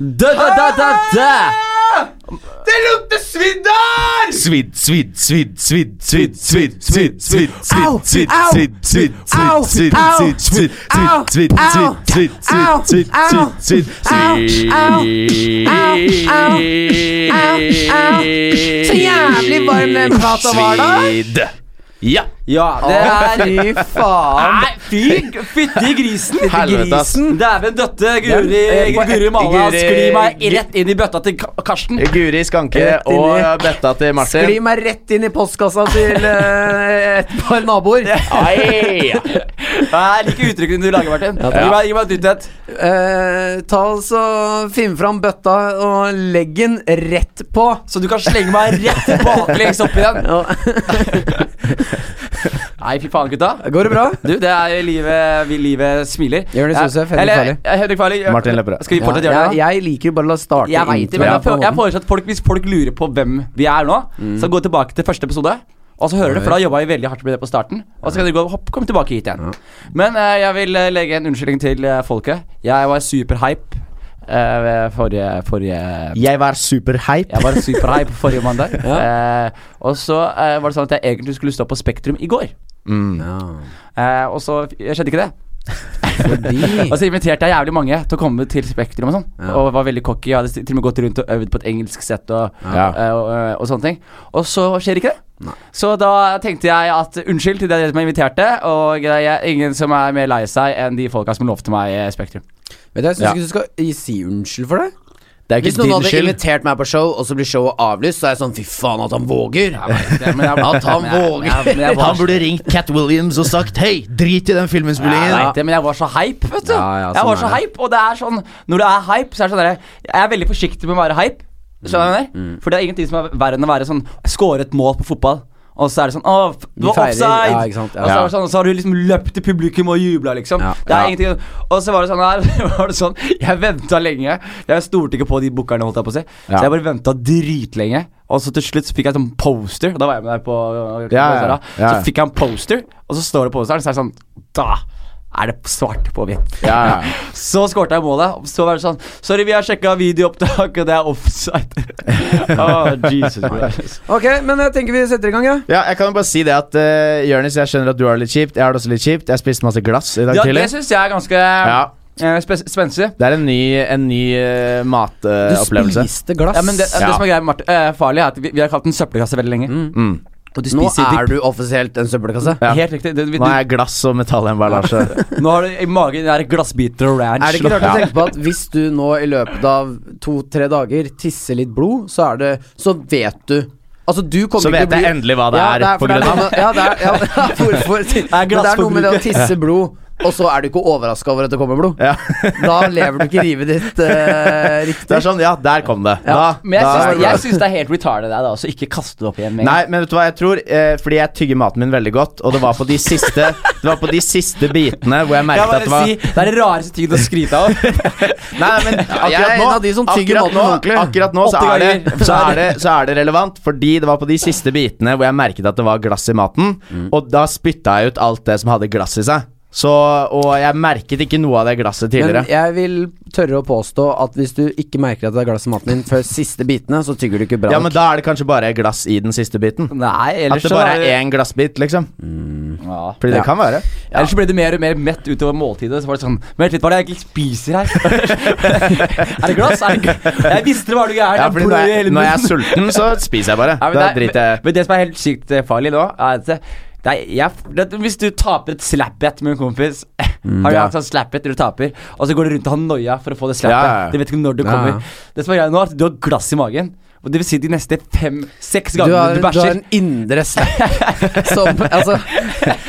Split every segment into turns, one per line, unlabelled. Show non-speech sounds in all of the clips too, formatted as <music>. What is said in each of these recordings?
Da, da, da, da, da.
Det lukter svidd der!
Svidd, svidd, svidd, svidd, svidd, svidd, svidd, svidd,
Au,
svidd,
au,
svidd, svidd,
au,
svidd,
au,
svidd, svidd,
au, au,
svidd, svidd,
au,
svidd, svidd,
au,
svidd, svidd,
au,
svidd.
au, au, au. Så jævlig varm eh, den plata var, da.
Svidd. Ja.
Ja, det er
Fy faen.
Nei, fy fytti grisen!
Helvete, ass.
Dæven døtte Guri,
Den- eh,
Guri Malla
Guri-
skli meg rett inn i bøtta til Ka- Karsten.
Guri Skanke
Rett inn i-
og bøtta til
Skli
Martin.
meg rett inn i postkassa til eh, et par naboer.
Ai.
Jeg liker uttrykkene du lager, Martin. Gi meg, gi meg et nytt et.
Eh, ta altså Finn fram bøtta og legg den rett på.
Så du kan slenge meg rett baklengs opp igjen.
Ja.
<laughs> Nei, fy faen, gutta.
Går det bra?
Du, det er jo livet vi livet smiler.
Jonis Josef, Henrik
Eller,
Farley.
ja, Henrik Farley. ja.
Martin Lepperød.
Skal vi fortsette å gjøre det? da?
jeg, jeg liker bare å la starte
Jeg vet det, men
introen
jeg,
på
føler- jeg
måten.
foreslår at folk, hvis folk lurer på hvem vi er nå, så gå tilbake til første episode. Og så hører du, for da jobba jeg veldig hardt med det på starten. Og så kan du gå og hopp, komme tilbake hit igjen. Men eh, jeg vil eh, legge en unnskyldning til eh, folket. Jeg var superhype eh, ved forrige, forrige
Jeg var superhype.
Jeg var superhype forrige mandag. Eh, og så eh, var det sånn at jeg egentlig skulle stå på Spektrum i går.
Mm.
Eh, og så jeg skjedde ikke det. Og <laughs>
Fordi
så inviterte jeg jævlig mange til å komme til Spektrum og sånn. Og var veldig cocky. Jeg hadde til og med gått rundt og øvd på et engelsk sett og,
Ja.
eh, og, eh, og sånne ting. Og så skjer ikke det. Så da tenkte jeg at unnskyld til dere som inviterte, og det er ingen som er mer lei seg enn de folka som lovte meg eh, Spektrum.
Vet du, Jeg syns
Ja.
ikke du skal
eh,
i- si unnskyld for det.
Det er jo
Hvis
ikke
noen
din
hadde
skyld.
invitert meg på show, og så blir showet avlyst, så er jeg sånn fy faen at han våger.
Men jeg,
At han
men jeg-
våger.
jeg- men jeg var-
Han burde ringt Cat Williams og sagt Hei, drit i den filminnspillingen.
Jeg vet det, men jeg var så hype, vet du.
Ja, ja,
jeg
sånn
var så
er
hype, og det er sånn Når du er hype, så er det sånn derre Jeg er veldig forsiktig med å være hype. Skjønner du hva jeg
Mm,
mener? For det er ingenting som er verre enn å være sånn Skåre et mål på fotball. Og så er det sånn Å, f- du
Vi
var
feirer,
offside!
ja, ikke sant, ja.
Og så, er det sånn, så har du liksom løpt til publikum og jubla, liksom.
Ja,
Det er
ja.
ingenting Og så var det sånn her <laughs> var det sånn, Jeg venta lenge. Jeg stolte ikke på de bookerne, holdt jeg på å si.
Ja.
Så jeg bare venta dritlenge. Og så til slutt så fikk jeg sånn poster. Da var jeg med der på
Ja, ja, ja.
Så fikk fikk jeg en poster, og så står det på posteren, så er det sånn Da er det svart på hvitt.
<laughs> Ja, ja.
<laughs> Så skårte jeg målet, og så var det sånn Sorry, vi har sjekka videoopptak, og det er
<laughs>
offside. Å, Jesus Christ.
Ok, men jeg tenker vi setter i gang, ja.
Ja, jeg kan jo bare si det at uh, Jørnis, jeg skjønner at du har det litt kjipt. Jeg har det også litt kjipt. Jeg spiste masse glass i dag
Ja,
tidlig.
det syns jeg er ganske
Ja,
eh, spe- spenstig.
Det er en ny, en ny eh,
Du
matopplevelse.
spiste glass.
Ja, men det, det
Ja. Mm.
som er greia med Martin, eh, farlig, er at vi, vi har kalt den søppelkasse veldig lenge. Mm. Og du
Nå
spiser
er du offisielt en søppelkasse.
Ja.
Helt riktig. Du, du,
Nå er jeg glass og metallemballasje.
nå har du i magen der glassbiter og ranch.
Er det ikke rart å tenke på at hvis du nå i løpet av to-tre dager tisser litt blod, så er det Så vet du. Altså, du kommer
Så
ikke til å
vet jeg
bli-
endelig hva det
Ja,
er
for
på grunn av.
noe med- Ja, det er, ja, <laughs> hvorfor Men Det er noe med det å tisse blod, og så er du ikke overraska over at det kommer
<laughs>
blod.
Ja.
Da lever du ikke livet ditt eh,
<laughs> Det
riktig.
er sånn, ja, der kom det. Da,
Men jeg
da er
syns,
det bra.
jeg syns det er helt retarded av deg da, å ikke kaste det opp igjen. med en
Nei, men vet du hva jeg tror? Eh, fordi jeg tygger maten min veldig godt, og det var på de siste Det var på de siste bitene hvor jeg
Jeg
merket
bare
at det var
si, det er det rareste tingen å skryte av.
Nei, men
jeg
akkurat
er en
nå,
av de som tygger
akkurat
maten
nå,
ordentlig.
akkurat nå så,
Åtte
er det,
ganger.
så, er det, så er det relevant, fordi det var på de siste bitene hvor jeg merket at det var glass i maten, og da spytta jeg ut alt det som hadde glass i seg. Så, og jeg merket ikke noe av det glasset tidligere.
Men jeg vil tørre å påstå at hvis du ikke merker at det er glass i maten din før siste bitene, så tygger du ikke bra
ja,
nok.
men da er det kanskje bare glass i den siste biten.
Nei,
At
ellers
det
så
bare er én glassbit, liksom.
ja.
Fordi det
Ja.
kan være.
Ellers så ble du mer og mer mett utover måltidet. Så var det sånn Vent litt, hva er det jeg egentlig spiser <laughs> her? er det glass? Er det glass? Jeg visste det var noe
Ja,
gærent.
fordi når jeg, når jeg er sulten, så spiser jeg bare.
<laughs> Ja, men
Da
det er-
driter jeg
Men, men det som er helt sykt eh, farlig nå, er at eh, det er, jeg, det, hvis du taper et slap-bet med en kompis <laughs> Har du
ja.
hatt sånn slap-bet når du taper, og så går du rundt og har noia for å få det slap-bet?
Ja, ja, ja.
Du vet ikke når det
Ja, ja.
kommer. Det som er greia nå, er at du har glass i magen. Og det vil si de neste fem-seks
du har,
gangene du,
du har
bæsjer.
en indre slap <laughs> som Altså,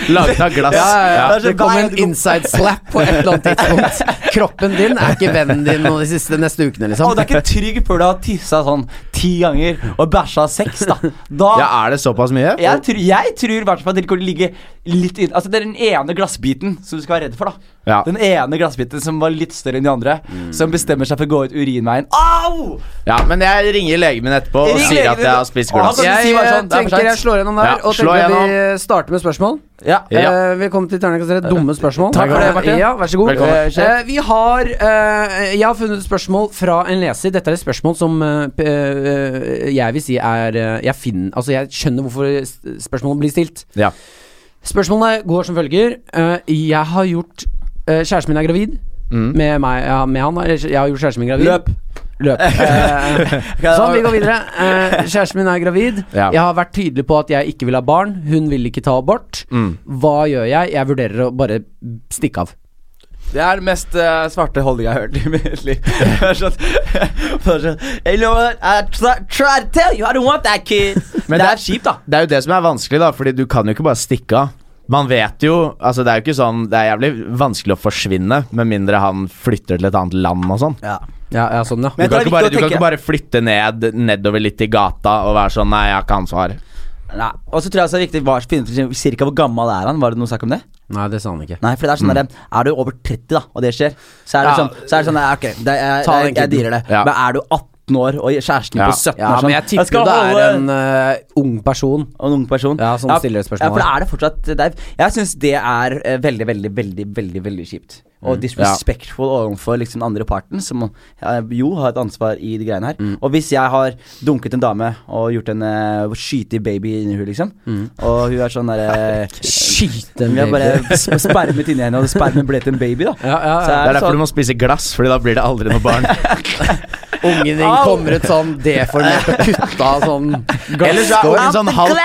Laget av glass.
ja, ja, ja.
Det er så
det kommer en
bad-
inside slap på et eller annet tidspunkt. Kroppen din er ikke vennen din nå de siste neste ukene,
Og
liksom.
du er ikke trygg før du har tissa sånn ti ganger og bæsja seks, da. da
Ja, er det såpass mye?
jeg, tror, jeg tror i hvert fall at dere kommer til å ligge litt inn Altså, det er den ene glassbiten som du skal være redd for, da.
Ja.
Den ene glassbiten som var litt større enn de andre, som bestemmer seg for å gå ut urinveien. Au!
Ja, men jeg ringer legen min etterpå og
Ring
sier
legen
at
din.
jeg har spist
Og han
glass.
kan
Jeg
si bare
eh,
sånn, det er for
tenker jeg
sent.
slår gjennom der,
Ja,
og
slå
tenker vi starter med spørsmål.
Ja.
Ja.
Eh, velkommen til Terningkast 3. Dumme spørsmål.
Takk for det, Martin.
Ja, vær så god.
Velkommen.
Eh, eh, vi har eh, Jeg har funnet et spørsmål fra en leser. Dette er et spørsmål som eh, p- eh, jeg vil si er eh, Jeg finner Altså, jeg skjønner hvorfor s- spørsmålet blir stilt.
Ja.
Spørsmålet går som følger. Eh, jeg har gjort eh, Kjæresten min er gravid. Med meg ja, Med han. Eller jeg har gjort kjæresten min gravid.
eh, Løp.
<laughs> Løp. Eh, sånn, vi går videre. Eh, kjæresten min er gravid.
Ja.
Jeg har vært tydelig på at jeg ikke vil ha barn. Hun vil ikke ta abort. Hva gjør jeg? Jeg vurderer å bare stikke av.
Det er den mest eh, svarte holdninga jeg har hørt i mitt liv. Det er sånn- det er sånn, You know what? I try, try to tell you I don't want that kid.
Men
det
det-
er kjipt, da.
Det er jo det som er vanskelig, da, fordi du kan jo ikke bare stikke av. Man vet jo Altså, det er jo ikke sånn Det er jævlig vanskelig å forsvinne, med mindre han flytter til et annet land og sånn.
Ja, ja sånn, ja.
Du
Men jeg tror det
kan,
er
ikke bare,
viktig
du
å
kan
tenke-
ikke bare flytte ned, nedover litt i gata og være sånn Nei, jeg har ikke ansvar.
Nei. Og så tror jeg også det er viktig hva, finne ut liksom, cirka hvor gammel er han. Var det noe snakk om det?
Nei, det sa han ikke.
Nei, for det er sånn der, Er du over 30 da, og det skjer, så er det
Ja.
sånn, så er det sånn ja, Ok, det, jeg,
Ta
jeg, jeg
den kiden.
dealer det.
Ja.
Men er du 18 år og kjæresten din
Ja.
på 17
Ja,
er sånn,
men jeg tipper
skal
jo det
holde-
er en eh, ung person.
og en ung person.
Ja, som stiller det
Ja,
spørsmålet.
for da er det fortsatt det er, Jeg syns det er eh, veldig, veldig, veldig veldig, veldig kjipt.
Mm.
Og disrespectful overfor liksom den andre parten, som eh, jo har et ansvar i de greiene her.
Mm.
Og hvis jeg har dunket en dame og gjort en uh, skyte i baby inni henne, liksom, og hun er sånn derre
Mm. <laughs> Skyte en
Vi har
baby.
bare sp- spermet inni henne, og spermen ble til en baby, da.
Ja, ja,
Så
ja.
Det er
sånn-
derfor du må spise glass, Fordi da blir det aldri
<laughs>
noe barn.
Ungen din
Au!
kommer ut sånn deformert og kutta av sånn
Eller så er
glasskår.
det en sånn halv,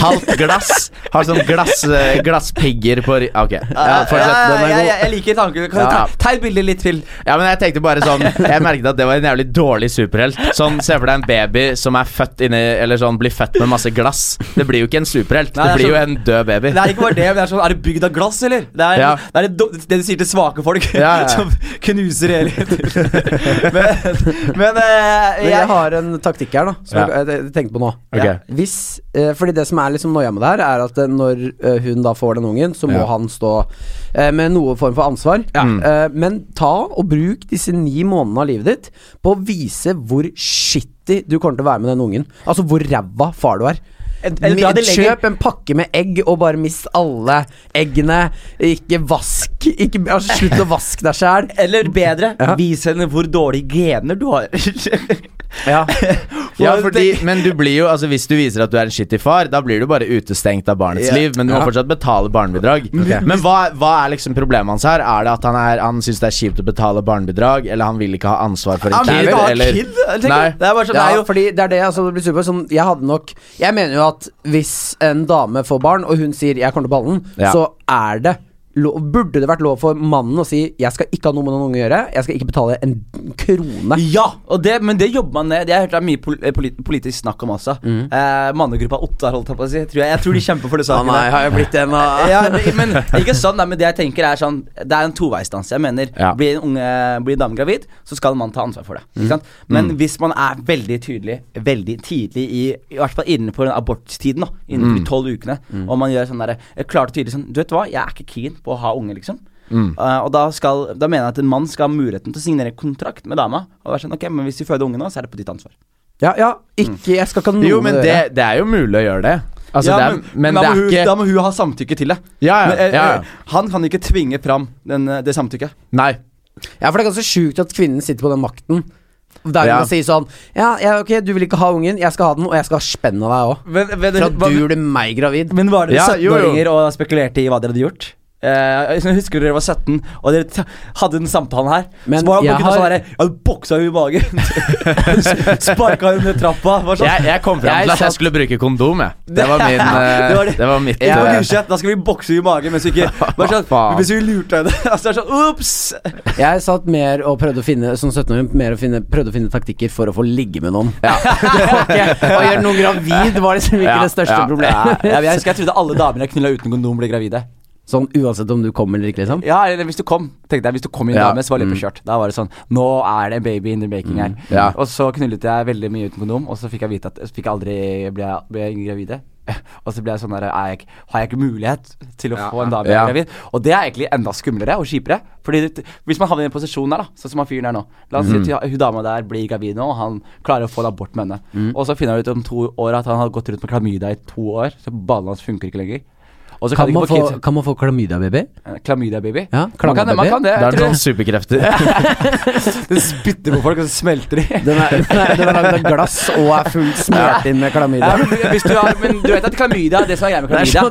halvt glass. Har sånn glass, eh, glasspigger på ri- Ok, ja, fortsett.
Ja,
Den
ja,
er
ja,
god.
jeg liker tanken. Kan du
Ja.
ta, ta et bilde litt til?
Ja, men jeg tenkte bare sånn Jeg merket at det var en jævlig dårlig superhelt. Sånn, Se for deg en baby som er født inni Eller sånn blir født med masse glass. Det blir jo ikke en superhelt.
Nei,
Det
det er
blir jo
sånn-
en død baby.
Det er ikke bare det, men det er sånn Er det bygd av glass, eller? Det er,
Ja.
det, er det, do- det du sier til svake folk,
Ja,
<laughs>
ja.
som knuser hele tiden. <laughs> men men eh,
Men
jeg,
jeg har en taktikk her, da, som
Ja.
jeg, jeg tenkte på nå.
Ok.
Hvis, eh, fordi det som er liksom noia med det her, er at eh, når eh, hun da får den ungen, så må
Ja.
han stå eh, med noe form for ansvar. Eh, men ta og bruk disse ni månedene av livet ditt på å vise hvor shitty du kommer til å være med den ungen. Altså hvor ræva far du er.
eller dra det lenger.
Kjøp en pakke med egg og bare mist alle eggene. Ikke vask ikke, altså, Slutt å vaske deg sjæl.
Eller bedre,
Ja.
vis henne hvor dårlige gener du har. <laughs>
Ja.
Ja, fordi, men du blir jo, altså Hvis du viser at du er en skittig far, da blir du bare utestengt av barnets
Ja.
liv. Men du må fortsatt betale barnebidrag. Men hva, hva er liksom problemet hans her? Er det at han, er- han syns det er kjipt å betale barnebidrag, eller han vil ikke ha ansvar for en
Han vil
kid?
ikke ha
eller-
kid, tenker jeg.
Nei.
Det er bare sånn,
ja,
det er jo
fordi det er det altså, det blir super, sånn, Jeg hadde nok Jeg mener jo at hvis en dame får barn Og hun sier 'jeg kommer til å balle den',
Ja.
Så er det lo- Burde det vært lov for mannen å si 'jeg skal ikke ha noe med noen unge å gjøre', 'jeg skal ikke betale en krone'?
Ja, og det, men det jobber man med. Det har jeg hørt det er mye pol eh, polit politisk snakk om også.
Mm.
Eh, Mannegruppa Ottar, holdt jeg på å si. Tror jeg, jeg tror de kjemper for det saken. der.
har jeg blitt en
ja, men ikke sånn, nei, men det jeg tenker er sånn Det er en toveisdans. Jeg mener,
Ja. Mm.
blir, en unge, blir en dame gravid, så skal man ta ansvar for det. Ikke sant? Men hvis man er veldig tydelig, veldig tidlig i I hvert fall innenfor den aborttiden, da,
Mm.
innenfor de tolv ukene, og man gjør sånn derre eh, klart og tydelig sånn Du vet hva, jeg er ikke keen på å ha unge, liksom.
Mm.
Eh, og da, skal, da mener jeg at en mann skal ha muligheten til å signere kontrakt med dama. Og være sånn, ok, men hvis du føder unge nå, så er det på ditt ansvar.
Ja, ja, ikke Jeg skal ikke ha noe
Jo, men
med å gjøre.
det, det er jo mulig å gjøre det. Altså,
Ja,
det er, men,
da,
det
må
er
hun,
ikke
da må hun ha samtykke til det.
Ja, ja,
Men, eh,
ja, ja.
eh, Han kan ikke tvinge fram den, eh, det samtykket.
Nei.
Ja, for det er ganske sjukt at kvinnen sitter på den makten. Der hun
Ja.
sier sånn Ja, ja, ok, du vil ikke ha ungen, jeg skal ha den, og jeg skal ha spenn av deg òg.
Men, men,
Fra
hva-
du gjorde meg gravid.
men var dere
Ja, jo, jo.
17-åringer og spekulerte i hva dere hadde gjort? Eh, jeg husker dere var 17 og dere t hadde den samtalen her.
Men
så var
jeg
jeg har... sånn
har-
der, ja, du boksa henne i
<laughs>
magen. Sparka henne ned trappa. Var sånn.
Jeg, jeg kom fram
Jeg
til at jeg
satt-
skulle bruke kondom,
<laughs>
jeg. Det var min eh,
Det var det.
Det var mitt
Jeg var
eh,
gudskjelov, Da skal vi bokse henne i magen mens vi
<laughs>
ikke bare sånn,
Faen.
Hvis vi lurte henne. <laughs> Altså, det er sånn, Ops!
<laughs> Jeg satt mer og prøvde å finne Som 17-åring mer å finne, prøvde å finne taktikker for å få ligge med noen. <laughs>
Ja.
Okay. Å gjøre noen gravid var liksom ikke
Ja,
det største
ja.
problemet.
Ja, jeg husker jeg trodde alle damer jeg knulla uten kondom, ble gravide.
<laughs> Sånn uansett om du kom eller ikke, liksom.
Ja, eller hvis du kom Tenkte jeg, hvis du kom i en
Ja. Mm.
dame, så var løpet kjørt. Da var det sånn Nå er det en baby in the making her.
Ja.
Og så knullet jeg veldig mye uten kondom, og så fikk jeg vite at så fikk jeg aldri ble, ble gravid. <laughs> Og så blir jeg sånn der er jeg, ikke- Har jeg ikke mulighet til å
Ja,
få en dame
ja.
jeg er gravid? Og det er egentlig enda skumlere og kjipere. Fordi det, hvis man havner i den posisjonen der, da sånn som han fyren der nå La oss
Mm.
si at hun dama der blir gravid nå, og han klarer å få en abort med henne.
Mm.
Og så finner han ut om to år at han har gått rundt med klamydia i to år, så ballene hans funker ikke lenger. Og så kan,
Kan
de
man
ikke få
få,
kids.
kan man få klamydia, baby?
Eh, Klamydia, baby.
Ja,
man kan det. Man
klamydia-baby.
kan det jeg
Da er det
tror
noen superkrefter.
det spytter på folk, og så smelter de.
<laughs> Den er, den er, den er lagd av glass og er fullt smurt inn
<laughs>
med
Ja,
klamydia.
men, hvis du har, men du vet at klamydia Det som er greia med
Det er
klamydia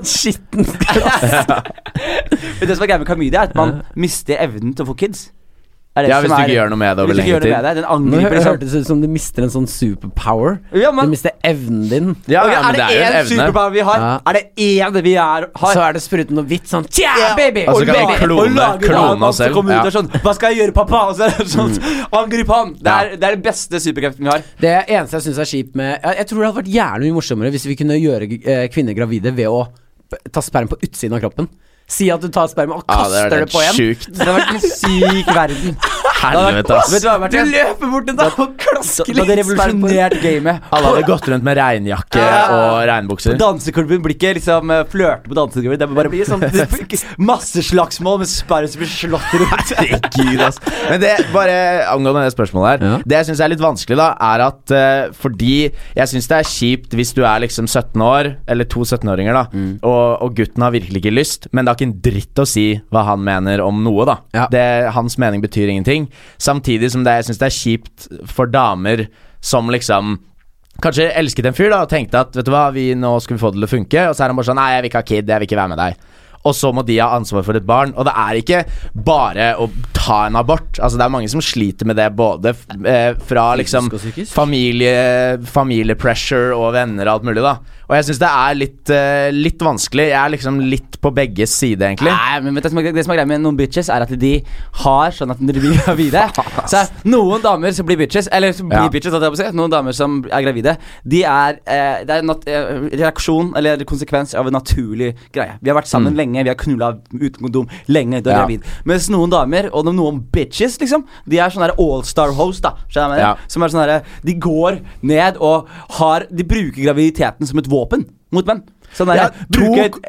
<laughs>
sånn skitten <laughs>
Men det som er greia med klamydia, er at man mister evnen til å få kids. Det er det
Ja, hvis
som
du
er-
ikke gjør noe med det over
Hvis du ikke
lengre
gjør noe
tid.
med det, den
Nå
angriper liksom.
hørtes det ut som du mister en sånn superpower.
Ja,
Du
men,
mister evnen din.
Ja,
Ok,
men
er det
jo en
én
evne.
superpower vi har?
Ja.
Er det én vi er, har?
Så er det spruten noe hvitt sånn Tja,
Ja.
baby!
Altså,
Og
kan vi
lager-
klone-
og lager
klone
han,
oss
og så
selv?
kommer vi ut
Ja. Mm.
og sånn Hva skal jeg gjøre, pappa? Og så er det sånn Angrip han! Det er, det er den beste superkreften vi har.
Det eneste jeg syns er kjipt med jeg, jeg tror det hadde vært jævlig mye morsommere hvis vi kunne gjøre eh, kvinner gravide ved å p- ta sperm på utsiden av kroppen. Si at du tar sperm og
Ja, det
kaster
er
det,
helt
på en.
sjukt.
Det har vært en syk verden.
Helvete,
Vet du
ass.
hva, Martin?
løper bort til deg og klasker
Det hadde revolusjonert <laughs> gamet.
Alle hadde gått rundt med regnjakke og regnbukser. <laughs>
Danseklubben blir ikke liksom eh, flørte på danseklubben. Det blir sånn- bare <laughs> masse slagsmål med sperrer som blir slått rundt.
Herregud, ass. Men det, bare angående det spørsmålet her
Ja.
Det jeg syns er litt vanskelig, da, er at eh, fordi Jeg syns det er kjipt hvis du er liksom 17 år, eller to 17-åringer, da, og, og gutten har virkelig ikke lyst, men det har ikke en dritt å si hva han mener om noe, da.
Ja.
Det, hans mening betyr ingenting. Samtidig som det, jeg syns det er kjipt for damer som liksom Kanskje elsket en fyr da og tenkte at vet du hva, vi, nå skal vi få det til å funke. Og så er han bare sånn Nei, jeg vil ikke ha kid. Jeg vil ikke være med deg. Og så må de ha ansvar for et barn. Og det er ikke bare å ta en abort. Altså Det er mange som sliter med det, både f- eh, fra liksom
Fysisk og psykisk.
familie, familiepressure og venner og alt mulig, da. Og jeg syns det er litt, eh, litt vanskelig. Jeg er liksom litt på begges side, egentlig.
Nei, men vet du, det som er- det som er greia med noen bitches, er at de har sånn at når de blir
<laughs>
gravide Så er Noen damer som blir bitches, eller som blir
Ja.
bitches, holdt jeg på å si, noen damer som er gravide, de er eh, Det er en nat eh, reaksjon eller konsekvens av en naturlig greie. Vi har vært sammen lenge, vi har knulla uten kondom lenge, du er
Mm. Ja.
gravid. Mens noen damer, og noen bitches, liksom, de er sånne allstar-host, da. Skjønner du hva jeg mener?
Ja.
Som er sånn herre De går ned og har De bruker graviditeten som et våpen mot menn. Sånn derre
Ja, to-
Bruker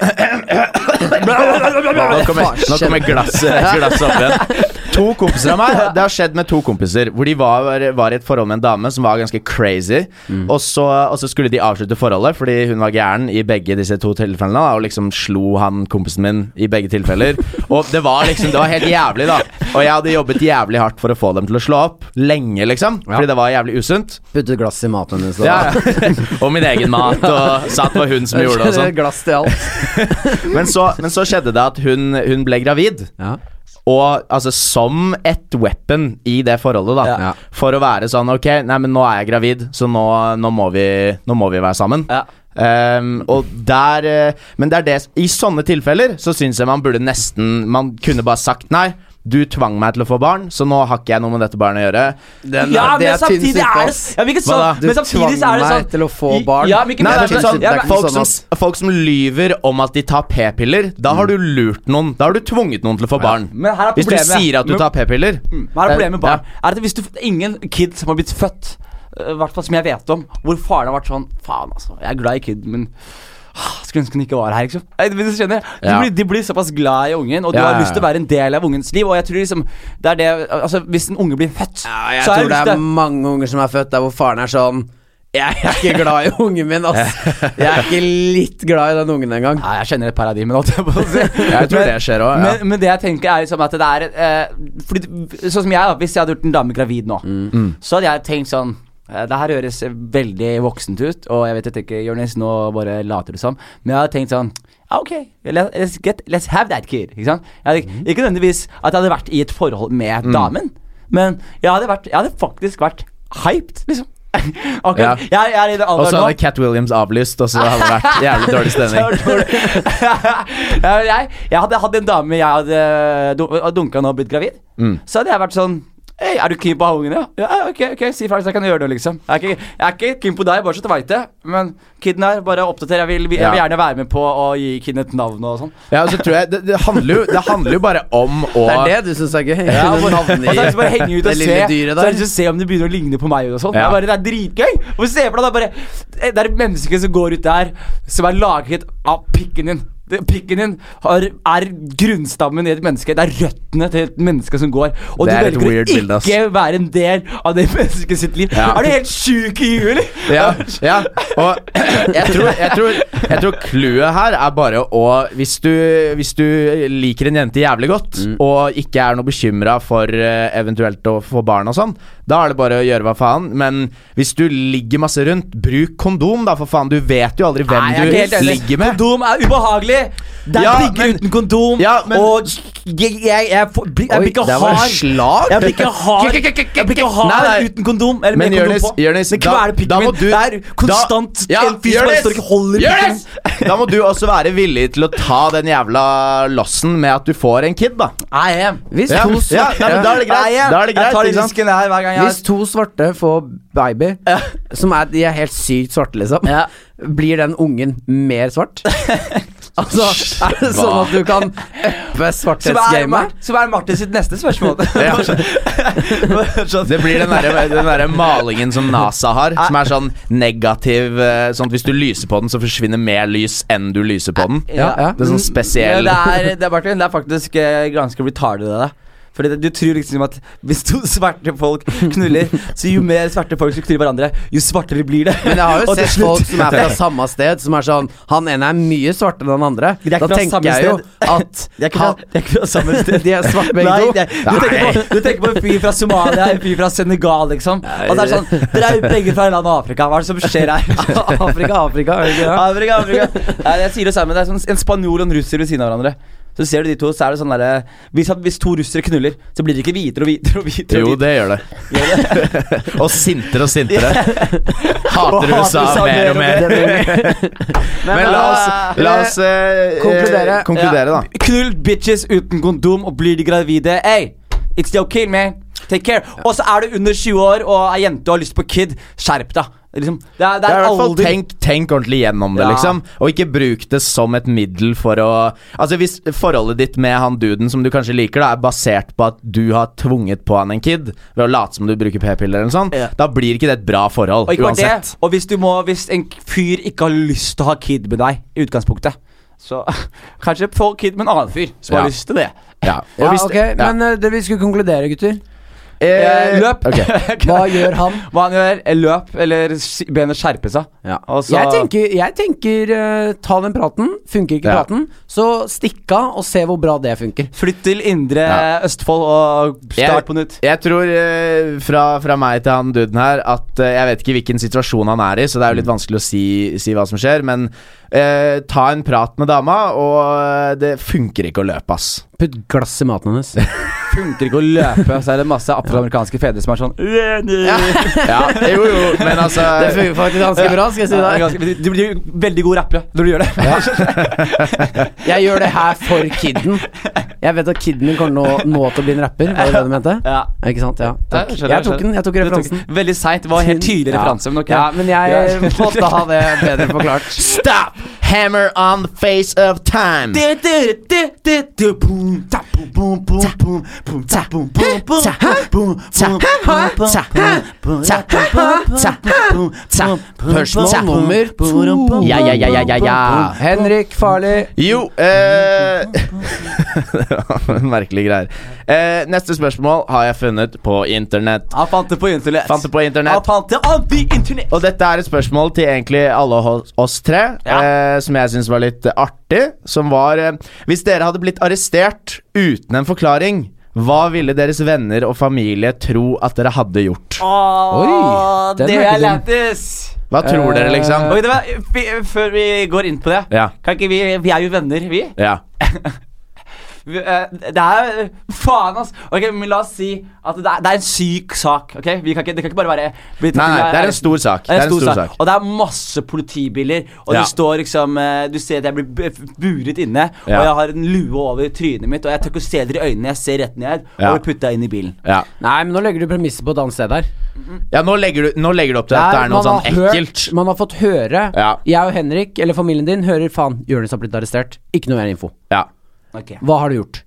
Nå kommer, nå kommer <laughs> glasset, glasset opp igjen. To kompiser av meg Det har skjedd med to kompiser hvor de var, var i et forhold med en dame som var ganske crazy. Og, så, og så skulle de avslutte forholdet fordi hun var gæren i begge disse to tilfellene. da, Og liksom slo han kompisen min i begge <laughs> tilfeller. Og det var liksom Det var helt jævlig, da. Og jeg hadde jobbet jævlig hardt for å få dem til å slå opp. Lenge, liksom. Fordi det var jævlig usunt.
Puttet glass i maten hennes.
Ja, ja. <laughs> Og min egen mat, og satt var hun <laughs> som gjorde det og sånn.
<laughs> Glass til alt.
Men så, men så skjedde det at hun, hun ble gravid.
Ja.
Og altså som et weapon i det forholdet, da.
Ja.
For å være sånn Ok, nei, men nå er jeg gravid, så nå, nå, må, vi, nå må vi være sammen.
Ja.
Ehm, og der eh, Men det er det I sånne tilfeller så syns jeg man burde nesten Man kunne bare sagt nei. Du tvang meg til å få barn, så nå har ikke jeg noe med dette barnet å gjøre.
Ja, men samtidig er
tynnsynt,
det
ass.
ja, men ikke sånn,
da?
men samtidig så er det
tvang meg
sånn
til å få
I-
barn.
Ja, men ikke
Nei,
bare
det er ikke sånn,
ja, men-
folk,
sånn
som, folk som lyver om at de tar p-piller, da har du lurt noen. Da har du tvunget noen til å få barn.
Mm. Men her er
Hvis du
problemet-
sier at du
men-
tar p-piller
Mm.
Eh,
Hva er problemet med barn?
Ja.
Er at hvis du Ingen kid som har blitt født, eh, i hvert fall som jeg vet om, hvor faren har vært sånn Faen, altså. Jeg er glad i kiden, men ah, skulle ønske den ikke var her, liksom. Nei, men du skjønner de,
Ja.
blir, de blir såpass glad i ungen, og du
Ja,
har
ja,
lyst til å være en del av ungens liv. Og jeg tror liksom Det er det Altså, hvis en unge blir født,
Jeg
så har
tror det
lyst
er
til
mange unger som er født der hvor faren er sånn Jeg er ikke glad i ungen min, ass. Jeg er ikke litt glad i den ungen engang.
Nei, jeg kjenner et paradigme nå. Jeg, på å si.
<laughs> Jeg tror det skjer også, ja.
Men, men det jeg tenker er liksom at det er eh, fordi, Sånn som jeg, da. Hvis jeg hadde gjort en dame gravid nå,
Mm.
så hadde jeg tenkt sånn eh, det her høres veldig voksent ut, og jeg vet jeg tenker Jonis, nå bare later du som, men jeg hadde tenkt sånn «Ah, Ok, let's, get, let's have that kid. Ikke sant? Jeg hadde,
Mm.
ikke nødvendigvis at jeg hadde vært i et forhold med damen, men jeg hadde, vært, jeg hadde faktisk vært hyped, liksom. <laughs>
Ja.
Akkurat. Jeg, jeg er i det
Og
alderen
så
nå.
hadde Cat Williams avlyst, og så hadde det vært jævlig dårlig <laughs>
<laughs>
stemning.
Så dårlig. ja, men jeg, jeg hadde hatt en dame jeg hadde dunka nå og blitt gravid. Så hadde jeg vært sånn Hei, er du keen på å ha ungen, ja? Ja, ok, ok, si fra hvis jeg kan gjøre det, liksom. Jeg er ikke, jeg er ikke keen på deg, bare så du veit det. Men kiden her, bare oppdater. Jeg vil, jeg vil
Ja.
gjerne være med på å gi kiden et navn og sånn.
Ja, og så tror jeg Det, det, handler, jo, det handler jo bare om å
Det er det du syns er <laughs>
Ja,
gøy? Kunne
bare, og så
navngi-
har jeg lyst til å bare henge ut
det
og se
lille
Så
dyret
har
der.
jeg lyst til å se om det begynner å ligne på meg. Og sånn.
Ja.
Det, er bare, det er dritgøy! Hvorfor se for deg det er bare eh, Det er et menneske som går ut der, som er laget av pikken din. Det- Pikken din har, er grunnstammen i et menneske. Det er røttene til et menneske som går. Og du
Det er et
velger å
weird
ikke
bilde, ass.
være en del av det <laughs> mennesket sitt liv.
Ja.
Er du helt sjuk i huet, eller?
Ja, ja. Og jeg tror, jeg tror, jeg tror clouet her er bare å Hvis du, hvis du liker en jente jævlig godt,
Mm.
og ikke er noe bekymra for eh, eventuelt å få barn og sånn, da er det bare å gjøre hva faen. Men hvis du ligger masse rundt, bruk kondom, da, for faen. Du vet jo aldri hvem
Nei, jeg er ikke helt
du
enig.
ligger med.
Kondom er ubehagelig. Det er
Ja,
digger
men-
uten kondom.
Ja, men-
og jeg, jeg, jeg, får- blir- jeg blir ikke
der var det
hard.
slag.
Jeg blir ikke hard, jeg blir ikke hard
Nei, nei.
uten kondom. Eller
Men
med kondom
Jonis,
på.
Jonis,
det
da-
kveler pikken
da må
min.
du-
det er konstant
da- Ja,
en fyr som bare
Jonis!
står og ikke holder pikken
Jonis!
min.
<laughs> Da må du også være villig til å ta den jævla lossen med at du får en kid, da.
I am.
Hvis
Ja,
to
ja,
svarte,
nei, men da er det greit.
I am.
Da er det greit
jeg tar
ikke
den
sant?
risken her hver gang jeg
hvis to svarte får baby, som er, de er helt sykt svarte, liksom,
Ja.
<laughs> blir den ungen mer
<laughs>
svart? altså, er det sånn at du kan uppe
som er, Mar-
svarthetsgamet?
som er Martin sitt neste spørsmål.
<laughs>
<laughs>
Ja. Det blir den derre den derre malingen som NASA har, som er sånn negativ eh, Sånn at hvis du lyser på den, så forsvinner mer lys enn du lyser på den.
Ja, ja.
Det er sånn
Ja,
spesiell
det, er, det, er, Martin, det er faktisk eh, ganske retarded av deg. Fordi det- Du tror liksom at hvis to <laughs> svarte folk knuller, så jo mer svarte folk som knuller hverandre, jo svartere blir det.
Men jeg har jo
Og til
sett
slutt-
folk som
<laughs>
er fra samme sted, som er sånn Han ene er mye svartere enn den andre.
De er
Da
ikke fra samme
tenker jeg jo
sted. <laughs>
at
De er ikke fra-
han-
de er ikke fra samme sted.
<laughs> De er svarte begge
Nei,
to.
det- du, tenker på, du tenker på en fyr fra Somalia, en fyr fra Senegal, liksom. Og det er sånn Dere er jo begge fra landet Afrika. Hva er det som skjer her?
Afrika, Afrika. er det ikke det?
Afrika, Afrika. Nei, jeg sier det samme. Det er sånn en spanjol og en russer ved siden av hverandre. Så ser du de to, så er det sånn derre hvis, at- hvis to russere knuller, så blir det ikke hvitere og hvitere og hvitere.
Jo,
og hvitere.
det gjør det. <laughs> og sintere og sintere.
<laughs>
Hater
Og
USA
hater USA
mer og mer. <laughs> Men la oss, la oss eh,
Konkludere.
eh, konkludere da.
Ja. Knull bitches uten kondom og blir de gravide. Ey, it's your kill, man. Take care. Og så er du under 20 år og er jente og har lyst på kid. Skjerp deg. Liksom, det er, det
Det
er
er i hvert fall
alder.
tenk, tenk ordentlig gjennom det,
Ja.
liksom. Og ikke bruk det som et middel for å Altså Hvis forholdet ditt med han duden som du kanskje liker, da er basert på at du har tvunget på han en kid ved å late som du bruker p-piller, eller noe sånt,
Ja.
da blir ikke det et bra forhold.
Og ikke bare
Uansett.
det, og hvis, du må, hvis en fyr ikke har lyst til å ha kid med deg, i utgangspunktet, så kanskje få kid med en annen fyr som
Ja.
har lyst til det.
Ja, og
Ja,
hvis-
ok,
ja.
Men eh, det vi skulle konkludere, gutter.
Eh,
Eh,
løp.
ok.
Hva gjør han?
Hva han gjør, er løp eller s- begynne å skjerpe seg. Og så-
jeg tenker, jeg tenker eh, ta den praten. Funker ikke
Ja.
praten, så stikk av og se hvor bra det funker.
Flytt til indre
Ja.
Østfold og start på nytt.
Jeg tror eh, fra, fra meg til han duden her at eh, jeg vet ikke hvilken situasjon han er i, så det er
Mm.
jo litt vanskelig å si, si hva som skjer, men eh, ta en prat med dama, og eh, det funker ikke å
<laughs>
løpe, ass.
Putt glass i maten hennes.
Funker ikke å løpe, så er det masse afroamerikanske fedre som er sånn
Ja, jo jo, men altså
Det funker faktisk ganske bra, skal jeg si
Det er
deg.
ganske- Du blir veldig god rappere når du gjør det.
Jeg gjør det her for kidden. Jeg vet at kidden min kommer nå, nå til å bli en rapper. Var det det du mente?
Ja.
Ikke sant? Ja. Takk.
Ja, skjønner,
Jeg tok
skjønner.
den. Jeg tok
Du tok
referansen.
den. Veldig seint. Det var en helt tydelig
Ja.
referanse. Men ok.
Ja, men jeg
Ja.
<laughs> måtte ha det bedre forklart.
Stop! Hammer on the face of time!
Du, du, du, du, du, boom, ta, boom, boom, boom, boom, boom, ta, boom, boom, boom, boom, boom, boom, boom, boom, ta, boom, ta, boom, ta, boom,
Spørsmål
ta, boom,
nummer to.
boom, boom,
Ja, ja, ja, ja, ja, ja.
Henrik Farley.
Jo eh, <laughs> Merkelige greier. Eh, neste spørsmål har jeg funnet på internett.
Han fant det på internett.
Fant det på
Han
internett.
fant det on the internet.
Og dette er et spørsmål til egentlig alle hos- oss tre, eh, som jeg syns var litt eh, artig. Som var eh, Hvis dere hadde blitt arrestert uten en forklaring, hva ville deres venner og familie tro at dere hadde gjort?
Åh,
den
Ah, det
er ikke
er
dum.
lættis.
Hva tror dere, liksom?
Eh, Oi, det var, vi, før vi går inn på det
Ja.
Kan ikke vi, vi er jo venner, vi
Ja.
<laughs> vi- eh, Det er Faen, ass. Ok, men La oss si at det er, det er en syk sak. ok? Vi kan ikke, det kan ikke bare være
Nei, nei, det er en stor sak.
Det er en stor sak. Og det er masse politibiler, og
Ja.
det står liksom eh, Du ser at jeg blir bu- buret inne,
Ja.
og jeg har en lue over trynet mitt, og jeg tør ikke å se dere i øynene, jeg ser rett ned,
Ja.
og blir putta inn i bilen.
Ja.
Nei, men nå legger du premisset på et annet sted her.
ja, nå legger, du, nå legger du opp til at det er noe sånn ekkelt.
Hørt, man har fått høre
Ja.
Jeg og Henrik, eller familien din, hører faen Jonis har blitt arrestert. Ikke noe mer info.
Ja.
Ok.
Hva har du gjort?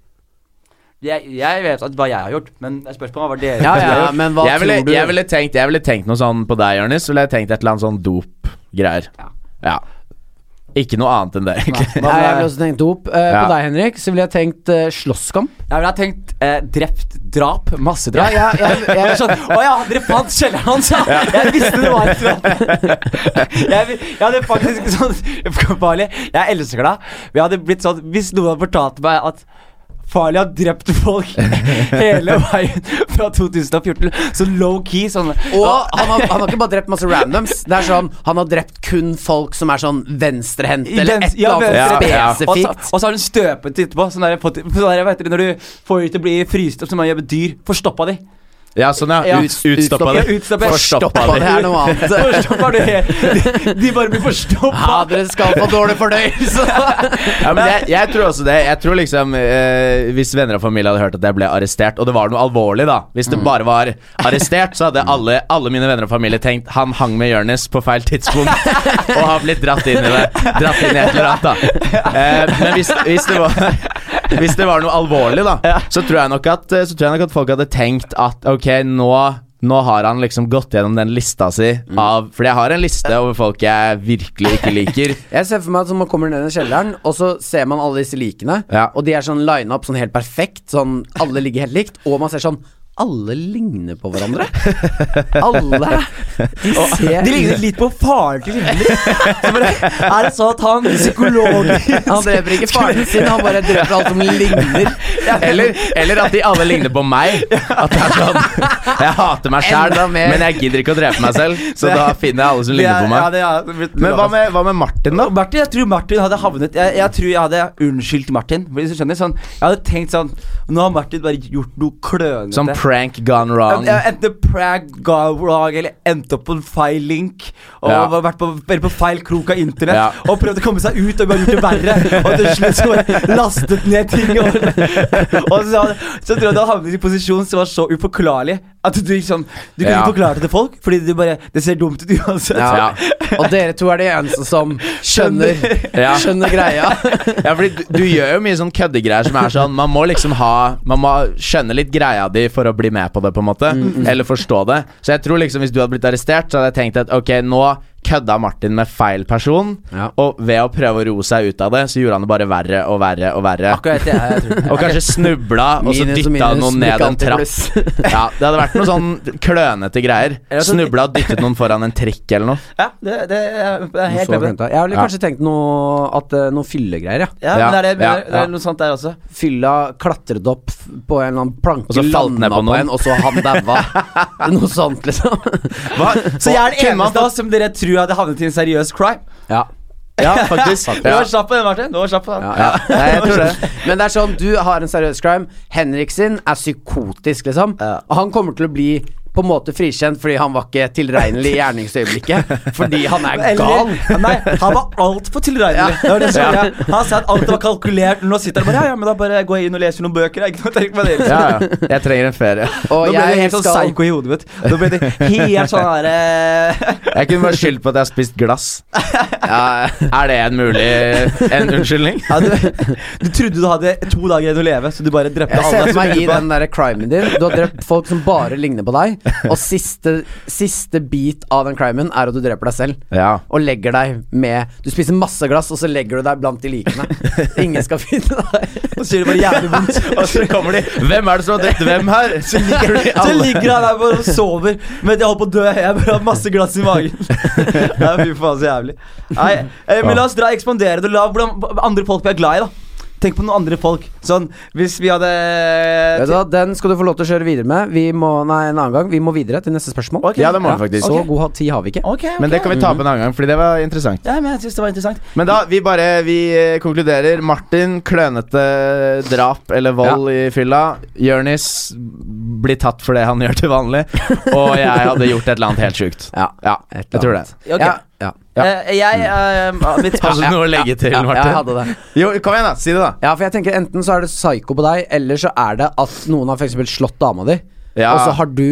Jeg, jeg vet at hva jeg har gjort, men jeg spørs på hva dere
Ja,
dere har
ja,
gjort.
men hva
Jeg ville,
tror du?
jeg, ville tenkt, jeg ville tenkt noe sånn på deg, Jonis. Ville jeg tenkt et eller annet sånn dop-greier.
Ja.
Ja. Ikke noe annet enn det, egentlig.
Nei, jeg ville også tenkt dop. Eh,
Ja.
På deg, Henrik, så ville jeg tenkt eh, slåsskamp.
Jeg ville ha tenkt eh, drept, drap,
Ja,
massedrap.
jeg, jeg, jeg,
<laughs> Jeg er sånn, Å ja, dere fant kjelleren hans, ja! Jeg visste det var et <laughs> jeg, jeg hadde faktisk sånn <laughs> Farlig, jeg elsker deg. Men jeg hadde blitt sånn Hvis noen hadde fortalt meg at Farlig har drept folk <laughs> hele veien fra 2014, så low key sånn
Og han har, han har ikke bare drept masse randoms. Det er sånn, Han har drept kun folk som er sånn venstrehendt
I
eller
den-
et
ja,
eller annet sånn
venstre-
ja.
Og så,
spesifikt.
og så har hun støpet etterpå. Sånn der, fått- sånn der, vet dere, når du får dem til å bli fryst opp som man gjør med dyr. Forstoppa de.
Ja, sånn, ja.
Ja.
Ut, utstoppa
Ja,
det.
utstoppet.
Forstoppa
Og
det.
det er noe annet.
<laughs> Forstoppa de. de. De bare blir forstoppa.
Ja, dere skal få dårlig fordøyelse.
<laughs>
Ja, men jeg, jeg tror også det. Jeg tror liksom eh, Hvis venner og familie hadde hørt at jeg ble arrestert, og det var noe alvorlig, da Hvis det bare var arrestert, så hadde alle, alle mine venner og familie tenkt han hang med Jonis på feil tidspunkt og har blitt dratt inn i det. Dratt inn i et eller annet, da. Eh, men hvis, hvis det var hvis det var noe alvorlig, da, så tror jeg nok at, så tror jeg nok at folk hadde tenkt at ok, nå nå har han liksom gått gjennom den lista si av Fordi jeg har en liste over folk jeg virkelig ikke liker.
Jeg ser for meg at sånn man kommer ned i kjelleren, og så ser man alle disse likene.
Ja.
Og de er sånn line up sånn helt perfekt. Sånn, Alle ligger helt likt. Og man ser sånn Alle ligner på hverandre. Alle. De ser
De
<laughs>
ligner litt på faren til Lille. Så bare, Er det sånn at han psykologisk
Han dreper ikke faren sin, han bare dreper alt som ligner.
Eller, eller at de alle ligner på meg. At det er sånn Jeg hater meg sjæl,
Enda mer.
men jeg gidder ikke å drepe meg selv. Så da finner jeg alle som ligner på meg.
Ja, det er,
Men hva med, hva med Martin, da?
Og Martin, jeg tror Martin hadde havnet Jeg, jeg tror jeg hadde unnskyldt Martin. Hvis du skjønner sånn, Jeg hadde tenkt sånn Nå har Martin bare gjort noe klønete.
Som prank gone wrong.
Ja, Enten prank gone wrong eller endte opp på en feil link. Og
Ja.
vært på, eller på feil krok av internett
Ja.
og prøvd å komme seg ut og bare gjort det verre. Og til slutt så bare lastet ned ting. Og, og så, så tror jeg du hadde havnet i en posisjon som var så uforklarlig at du liksom Du kunne
Ja.
ikke forklare det til folk, fordi det bare Det ser dumt ut uansett.
Ja.
<laughs> Og dere to er de eneste som skjønner,
Ja.
skjønner
<laughs>
greia.
Ja, fordi du, du gjør jo mye sånn køddegreier som er sånn Man må liksom ha Man må skjønne litt greia di for å bli med på det, på en måte.
Mm,
Eller forstå det. Så jeg tror liksom hvis du hadde blitt arrestert, så hadde jeg tenkt at ok, nå kødda Martin med feil person, og ved å prøve å ro seg ut av det, så gjorde han det bare verre og verre og verre.
Akkurat det jeg tror.
Og kanskje snubla, og så
Minus og
dytta
minus,
noen
blir
ned
ikke
en
alltid
trapp. <laughs>
pluss.
Ja, Det hadde vært noe sånn klønete greier. Snubla og dyttet noen foran en trikk eller noe.
Ja, det, det, jeg er helt med
Så
på det.
klønete. Jeg ville
Ja.
kanskje tenkt noe, at, eh, noe fyllegreier. Ja.
Ja, men det er, det, jeg
Ja,
mener. det
ja.
er noe sånt der også.
Fylla klatret opp f- på en eller annen planke,
Og så falt ned på noen.
en, og så han daua. <laughs> noe sånt, liksom. <laughs>
Hva?
Så jeg er den
Kunne man
eneste av oss som dere tror hadde havnet i en seriøs crime.
Ja.
Ja, faktisk.
<laughs> Du
Ja.
var sånn. kjapp på den, Martin. Du var kjapp på den.
Ja,
Ja. Nei, jeg tror det.
Men det er sånn, du har en seriøs crime. Henrik sin er psykotisk, liksom. Og han kommer til å bli på en måte frikjent fordi han var ikke tilregnelig i gjerningsøyeblikket. Fordi han er gal.
Eller, nei, han var altfor tilregnelig. Det var det som- ja. Han sa at alt var kalkulert. Nå sitter han bare Ja, ja, men da bare går jeg inn og leser noen bøker. Jeg, <laughs> ikke noe å tenke på det.
Ja, ja. Jeg trenger en ferie.
Nå ble
Og
det
jeg
helt sånn
skal
psycho i hodet mitt. Nå ble det helt sånn derre
Jeg kunne bare skyldt på at jeg har spist glass. Ja, er det en mulig En unnskyldning?
ja, du, <laughs> du trodde du hadde to dager igjen å leve, så du bare drepte
Jeg
alle.
ser for
som
meg i
lurte på
den der crimen din. Du har drept folk som bare ligner på deg. Og siste, siste bit av den crimen er at du dreper deg selv.
Ja.
Og legger deg med Du spiser masse glass, og så legger du deg blant de likene. Ingen skal finne deg.
det. Og så gjør det bare jævlig vondt.
<laughs>
Og så kommer de Hvem er det som har drept hvem her? Så ligger de
Så
alle
ligger han der bare og sover mens jeg holder på å dø. Jeg bare har masse glass i magen. Nei, fy faen, så jævlig. Nei, eh, men la oss dra ekspandere det. La hvordan andre folk vi er glad i, da. Tenk på noen andre folk. Sånn, hvis vi hadde
Vet du hva, Den skal du få lov til å kjøre videre med. Vi må, nei, en annen gang. Vi må videre til neste spørsmål.
Ok.
Ja, det må vi faktisk.
Så god ha- tid har vi ikke.
Ok, ok.
Men det kan vi ta opp en annen gang, Fordi det var interessant.
Ja, men jeg synes det var interessant.
Men da, vi bare Vi eh, konkluderer. Martin, klønete drap eller vold i fylla. Jørnis blir tatt for det han gjør til vanlig. Og jeg hadde gjort et eller annet helt sjukt.
Ja.
Ja, jeg tror det.
Ok.
Ja. ja.
Ja.
Eh, jeg eh, mitt,
<laughs> Har du Altså, noe å legge til,
Ja, jeg
Martin?
hadde det.
Jo, kom igjen, da. Si det, da.
Ja, for jeg tenker Enten så er det psyko på deg, eller så er det at noen har for eksempel slått dama di,
Ja.
og så har du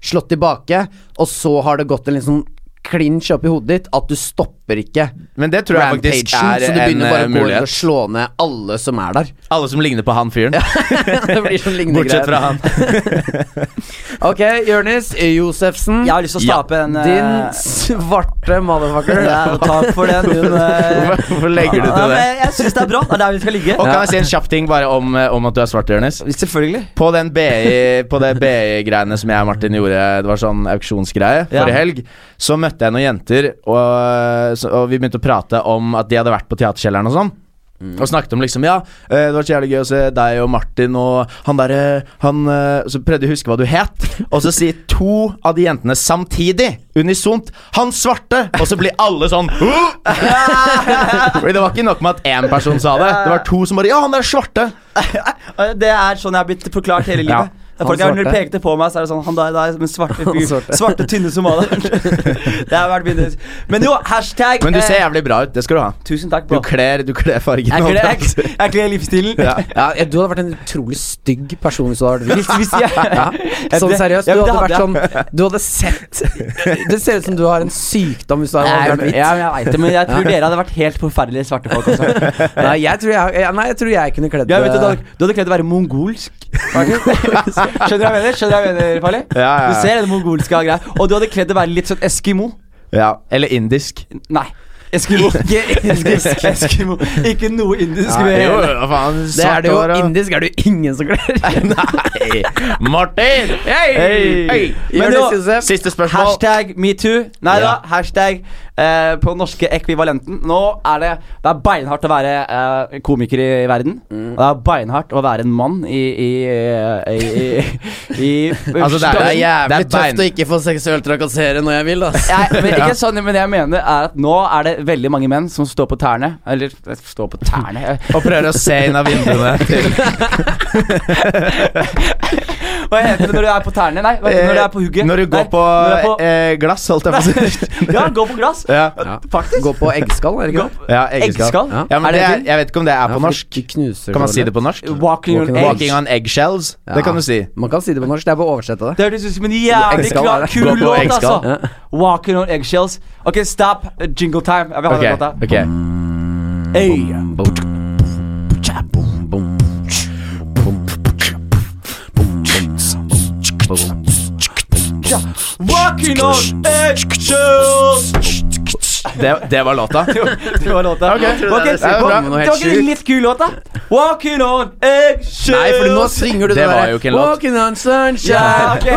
slått tilbake, og så har det gått en litt sånn klinsj opp i hodet ditt at du stopper ikke
Men det tror jeg faktisk
rampagen, så
er
du
en
begynner bare
eh,
å gå inn og
mulighet.
slå ned alle som er
<laughs>
der. <laughs>
Alle som ligner på han fyren.
det blir sånn lignende
Bortsett fra
<laughs>
han.
Ok, Jonis Josefsen.
jeg har lyst til å
Ja.
stape en eh,
Din svarte motherfucker.
<laughs> ja, Takk for den. Din, eh,
Hvorfor legger du
ja,
til det?
men jeg syns det er bra. Det er der vi skal ligge.
Og kan jeg si en kjapp ting bare om, eh, om at du er svart, Jonis?
Selvfølgelig.
På den BI På det BI-greiene som jeg og Martin gjorde, det var sånn auksjonsgreie
Ja.
forrige helg, så møtte jeg noen jenter, og, så- og vi begynte å prate om at de hadde vært på Teaterkjelleren og sånn. Og snakket om liksom Ja, eh, det var så jævlig gøy å se deg og Martin og han derre Han eh, Så prøvde jeg å huske hva du het, og så sier to av de jentene samtidig, unisont, 'Han svarte', og så blir alle sånn «Åh!» Fordi det var ikke nok med at én person sa det, det var to som bare 'Ja, han der svarte'.
Eh, Det er sånn jeg har blitt forklart
<laughs>
hele livet.
Ja.
Det er Folk jeg, når de
svarte.
pekte på meg, så er det sånn Han der, der som en svarte fyr.
Han svarte.
Svarte. tynne <laughs> somalieren. det har vært min Men jo, hashtag
Men du ser
eh,
jævlig bra ut, det skal du ha.
Tusen takk,
Du
bro.
kler, du kler fargen.
Jeg
<laughs>
kler,
overalt.
jeg, jeg kler livsstilen.
Ja.
Ja, jeg- du hadde vært en utrolig stygg person hvis du hadde vært hvit.
Hvis, hvis jeg,
<laughs> Ja. Sånn
det-
seriøst,
ja,
du
men det
hadde vært
hadde
sånn Du hadde sett Det ser ut som du har en sykdom hvis du
Nei,
hadde vært
men-
hvit.
ja, men jeg vet det, men jeg tror dere hadde vært helt forferdelige svarte folk altså. også.
Nei, jeg tror jeg, ja, nei, jeg, tror jeg kunne
<laughs>
kledd
Ja, vet du, du, hadde, du hadde kledd å være mongolsk. Martin. <laughs> Skjønner du hva jeg mener? Skjønner du hva jeg mener, Farley?
Ja, ja, ja.
Du ser den mongolske greia. Og du hadde kledd å være litt sånn eskimo.
Ja, eller indisk.
Nei. Eskimo. Ikke indisk. <laughs> Eskimo. Ikke noe indisk. ved
jo,
hele.
hva faen,
Det er
svart
det jo
hår og-
indisk, er det jo ingen som kler.
<laughs> Nei! Martin!
Hei!
Hei!
Men
Jonis
nå-
Josef.
Siste spørsmål.
Hashtag metoo. Nei da,
Ja.
hashtag eh, på norske ekvivalenten. Nå er det Det er beinhardt å være eh, komiker i verden.
Mm.
Og det er beinhardt å være en mann i i, i, i, i, i
<laughs> Altså, det er, det er jævlig
Det er tøft
bein.
å ikke få seksuelt trakassere når <laughs> jeg vil, ass.
Nei, men ikke sånn, men det jeg mener er at nå er det veldig mange menn som står på tærne. Eller står på tærne eh,
Og prøver å se inn av vinduene
<laughs>
til
Hva heter det når du er på tærne? Nei, hva heter det når du er på hugget.
Eh, Når du går
Nei,
på,
når du er
eh, glass, holdt jeg på å si.
på <laughs> Ja, gå på glass.
<laughs> Ja.
Faktisk.
Gå på eggskall, er det ikke
Gå
det?
på-
Ja,
Eggeskall?
eggeskall.
Ja.
Ja, men
Er
det
det
er,
ting?
jeg vet ikke om det er
Ja,
på
for
norsk.
du knuser
Kan man si
hverandre.
det på norsk?
Walking on
Walking on
eggs.
Walking on eggshells.
Ja.
Det kan du si.
Man kan si det på norsk, det er bare å oversette det.
Det hørtes ut som en jævlig
Eggskall, er
klar,
det?
kul
Gå på
låt,
eggskall.
altså. Walking on eggshells. Ok, stop. Jingle time. Jeg vil ha
Ok,
den låta.
ok
Hey. Walking on eggshells. <laughs>
Det, det var låta.
Det var låta. Ok,
det var det jeg skulle
hva-
komme med, noe
Det
helt
var ikke en
sjukt.
litt kul låt, da? Walking on eggshells.
Nei, for nå synger du det,
Det var
der,
jo ikke en låt.
Walking
Ja,
on <laughs> sunshine
ok.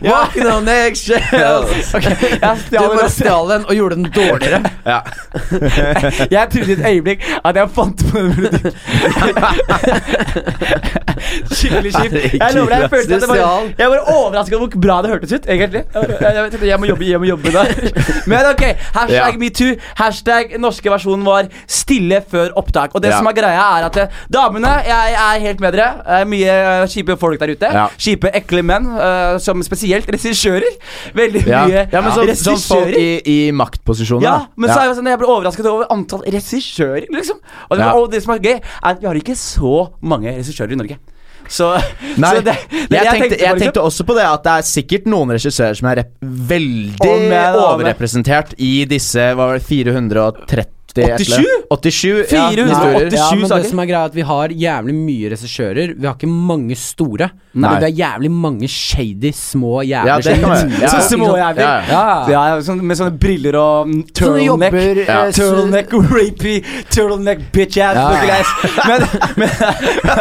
Ja.
Walking on eggshells
Ok, jeg
Du
stjal
bare
den.
stjal den og gjorde den dårligere.
Ja.
<laughs> Jeg trodde i et øyeblikk at jeg fant på den
<laughs>
melodien. Skikkelig kjipt. Jeg lover deg, jeg følte at det var
Sosial.
Jeg var overrasket over hvor bra det hørtes ut, egentlig. Jeg, jeg, jeg, tenkte, jeg må jobbe, jeg må jobbe der. <laughs> Men ok, hashtag
Ja.
metoo. Hashtag norske versjonen var 'stille før opptak'. Og det
Ja.
som er greia, er at eh, damene Jeg er helt med dere. Det er Mye eh, kjipe folk der ute.
Ja.
Kjipe, ekle menn, eh, som spesielt <laughs> regissører. Veldig
Ja.
mye
ja, men så, sånn folk
regissører.
i, i maktposisjoner,
Ja,
da.
men så er jo sånn, jeg ble overrasket over antall regissører, liksom. Og det,
Ja.
og det som er gøy, er at vi har ikke så mange regissører i Norge. Så, <laughs>
Nei,
så det, det
jeg, tenkte,
på,
jeg
liksom.
tenkte også på det at det er sikkert noen regissører som er rep veldig
Å, men, da, men.
overrepresentert i disse hva var det, 430 et eller annet. 87 ja,
487
historier.
Ja, men
saker.
det som er greia er at Vi har jævlig mye regissører. Vi har ikke mange store.
Nei.
Men vi har jævlig mange shady, små jævler.
Ja, det kan være. Ja.
Så små jævler.
Ja, ja.
sånn. Ja.
Ja, ja, sånn, med sånne briller og mm,
Sånne
turtleneck.
jobber,
Ja.
eh, s-
Turtleneck, rapey, turtleneck, bitch ass,
Ja.
looking ass. Men,
<laughs>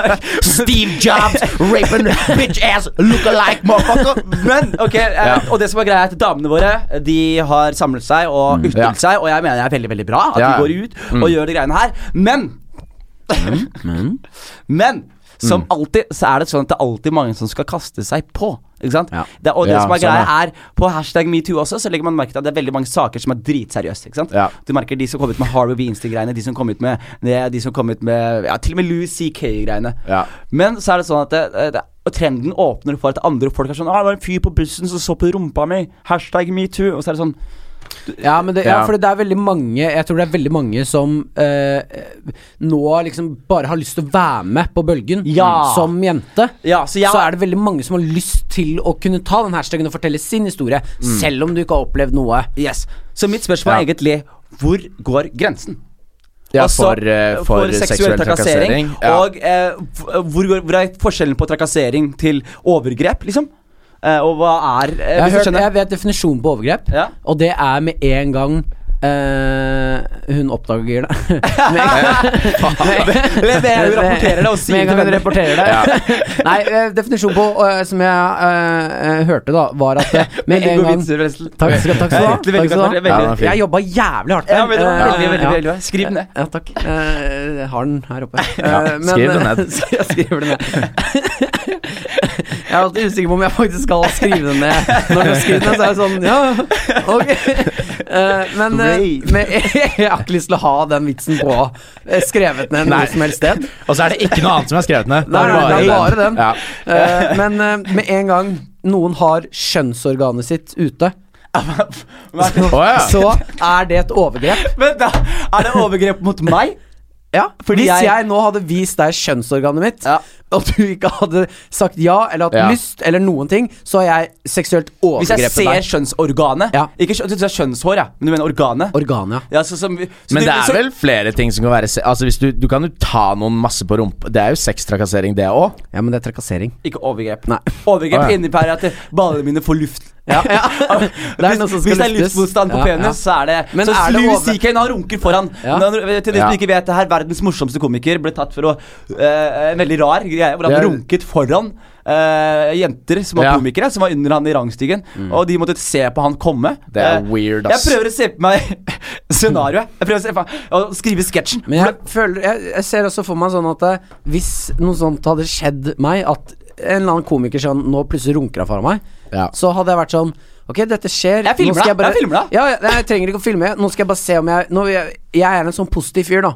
Steve Jobs, raping bitch ass, look alike, motherfucker. <laughs>
men ok, eh,
Ja.
og det som er greia er at damene våre De har samlet seg og ytret
Mm. Ja.
seg, og jeg mener det er veldig veldig bra at
Ja, Mm. ja.
de går ut og gjør de greiene her. Men
Mm,
<laughs> Men som alltid så er det sånn at det er alltid mange som skal kaste seg på. Ikke sant?
Ja.
Det, og det
Ja,
som er
sånn
greia er På hashtag metoo også Så legger man merke til at det er veldig mange saker som er dritseriøse. Ikke sant?
Ja.
Du merker de som kom ut med Harvey Weinstein-greiene, de som kom ut med det, de som kom ut med ja, Til og med Louis CK-greiene.
Ja.
Men så er det sånn at det, det, og trenden åpner for at andre folk er sånn ah, 'Det var en fyr på bussen som så på rumpa mi'. Hashtag metoo. Og så er det sånn
Ja, men det, ja,
Ja.
for det er veldig mange Jeg tror det er veldig mange som eh, nå liksom bare har lyst til å være med på bølgen
Ja.
som jente.
Ja, så jeg-
er det veldig mange som har lyst til å kunne ta den hashtagen og fortelle sin historie,
Mm.
selv om du ikke har opplevd noe.
Yes. Så mitt spørsmål er egentlig hvor går grensen?
Ja,
Altså,
for, eh, for seksuell trakassering. Ja.
Og eh, f- hvor, går- hvor er forskjellen på trakassering til overgrep, liksom? Eh, og hva er eh, hvis
Jeg,
du
har hørt,
skjønner?
jeg vet definisjonen på overgrep,
Ja.
og det er med en gang eh, hun oppdager
<laughs>
det. med en gang
Eller det, hun rapporterer det og
Med en
sier
gang
til
hun
venner.
rapporterer det. <laughs> Nei, eh, definisjonen på eh, som jeg eh, eh, hørte, da,
<laughs>
var at eh, med
Veldig
en
god
gang
vitser, forresten.
Takk skal takk skal du ha.
Egentlig veldig
Takk
godt,
skal du ha.
veldig-
Ja, den er fin.
Jeg jobba jævlig hardt der.
Ja, veldig,
Eh,
veldig, veldig,
ja.
veldig, veldig. Skriv den ned.
Ja, takk. Eh, Jeg har den her oppe.
<laughs> Ja,
Eh, men-
skriv den ned.
<laughs> jeg skriver den ned. Jeg er alltid usikker på om jeg faktisk skal skrive den ned. Når du skriver den, ned, så er jeg sånn Ja, ok. Eh, Men, eh, men <laughs> jeg har ikke lyst til å ha den vitsen på eh, skrevet ned
Nei.
noe som helst sted.
Og så er det ikke noe annet som er skrevet ned.
Nei, nei, det er bare den.
Ja.
Eh, Men eh, med en gang noen har kjønnsorganet sitt ute,
Å, ja.
så er det et overgrep.
Vent, da! Er det overgrep mot meg?
Ja,
Fordi
Hvis
jeg-
jeg... nå hadde vist deg kjønnsorganet mitt,
Ja.
og du ikke hadde sagt ja eller hatt
Ja.
lyst eller noen ting, så har jeg seksuelt
Hvis jeg
overgrepet
ser
deg.
kjønnsorganet
Ja.
Ikke kjø- du sa kjønnshår, ja. Men du mener organet?
Organet, ja.
ja, så, som- så
Men
du-
det er
så-
vel flere ting som kan være se Altså hvis Du, du kan jo ta noen masse på rumpa. Det er jo sextrakassering, det òg.
Ja, men det er trakassering.
Ikke overgrep.
Nei.
Overgrep
Å, ja.
innebærer at ballene mine får luft. <laughs>
<laughs> Det er noe
hvis,
som skal
hvis det er
luftes.
luftmotstand på
Ja,
penis,
ja.
så er det
Men
Så
er det
Louis
over-
CK han runker foran.
Ja.
Når- Til de som
Ja.
ikke vet det her, verdens morsomste komiker ble tatt for å eh, En veldig rar greie hvor han
Det er-
runket foran eh, jenter som var
Ja.
komikere, som var under han i rangstigen,
Mm.
og de måtte se på han komme.
Det er
Eh,
weird, ass.
Jeg prøver å se på meg <laughs> scenarioet. Jeg prøver å se på meg, å skrive sketsjen.
Men jeg, føler, jeg, jeg ser også for meg sånn at eh, hvis noe sånt hadde skjedd meg, at en eller annen komiker sånn nå plutselig runker han foran meg,
Ja.
så hadde jeg vært sånn Ok, dette skjer.
Jeg filmer
Nå skal
deg, jeg filmer deg.
Ja, ja, nei, jeg trenger ikke å filme. Nå skal jeg bare se om jeg nå, vil jeg, jeg er en sånn positiv fyr, da.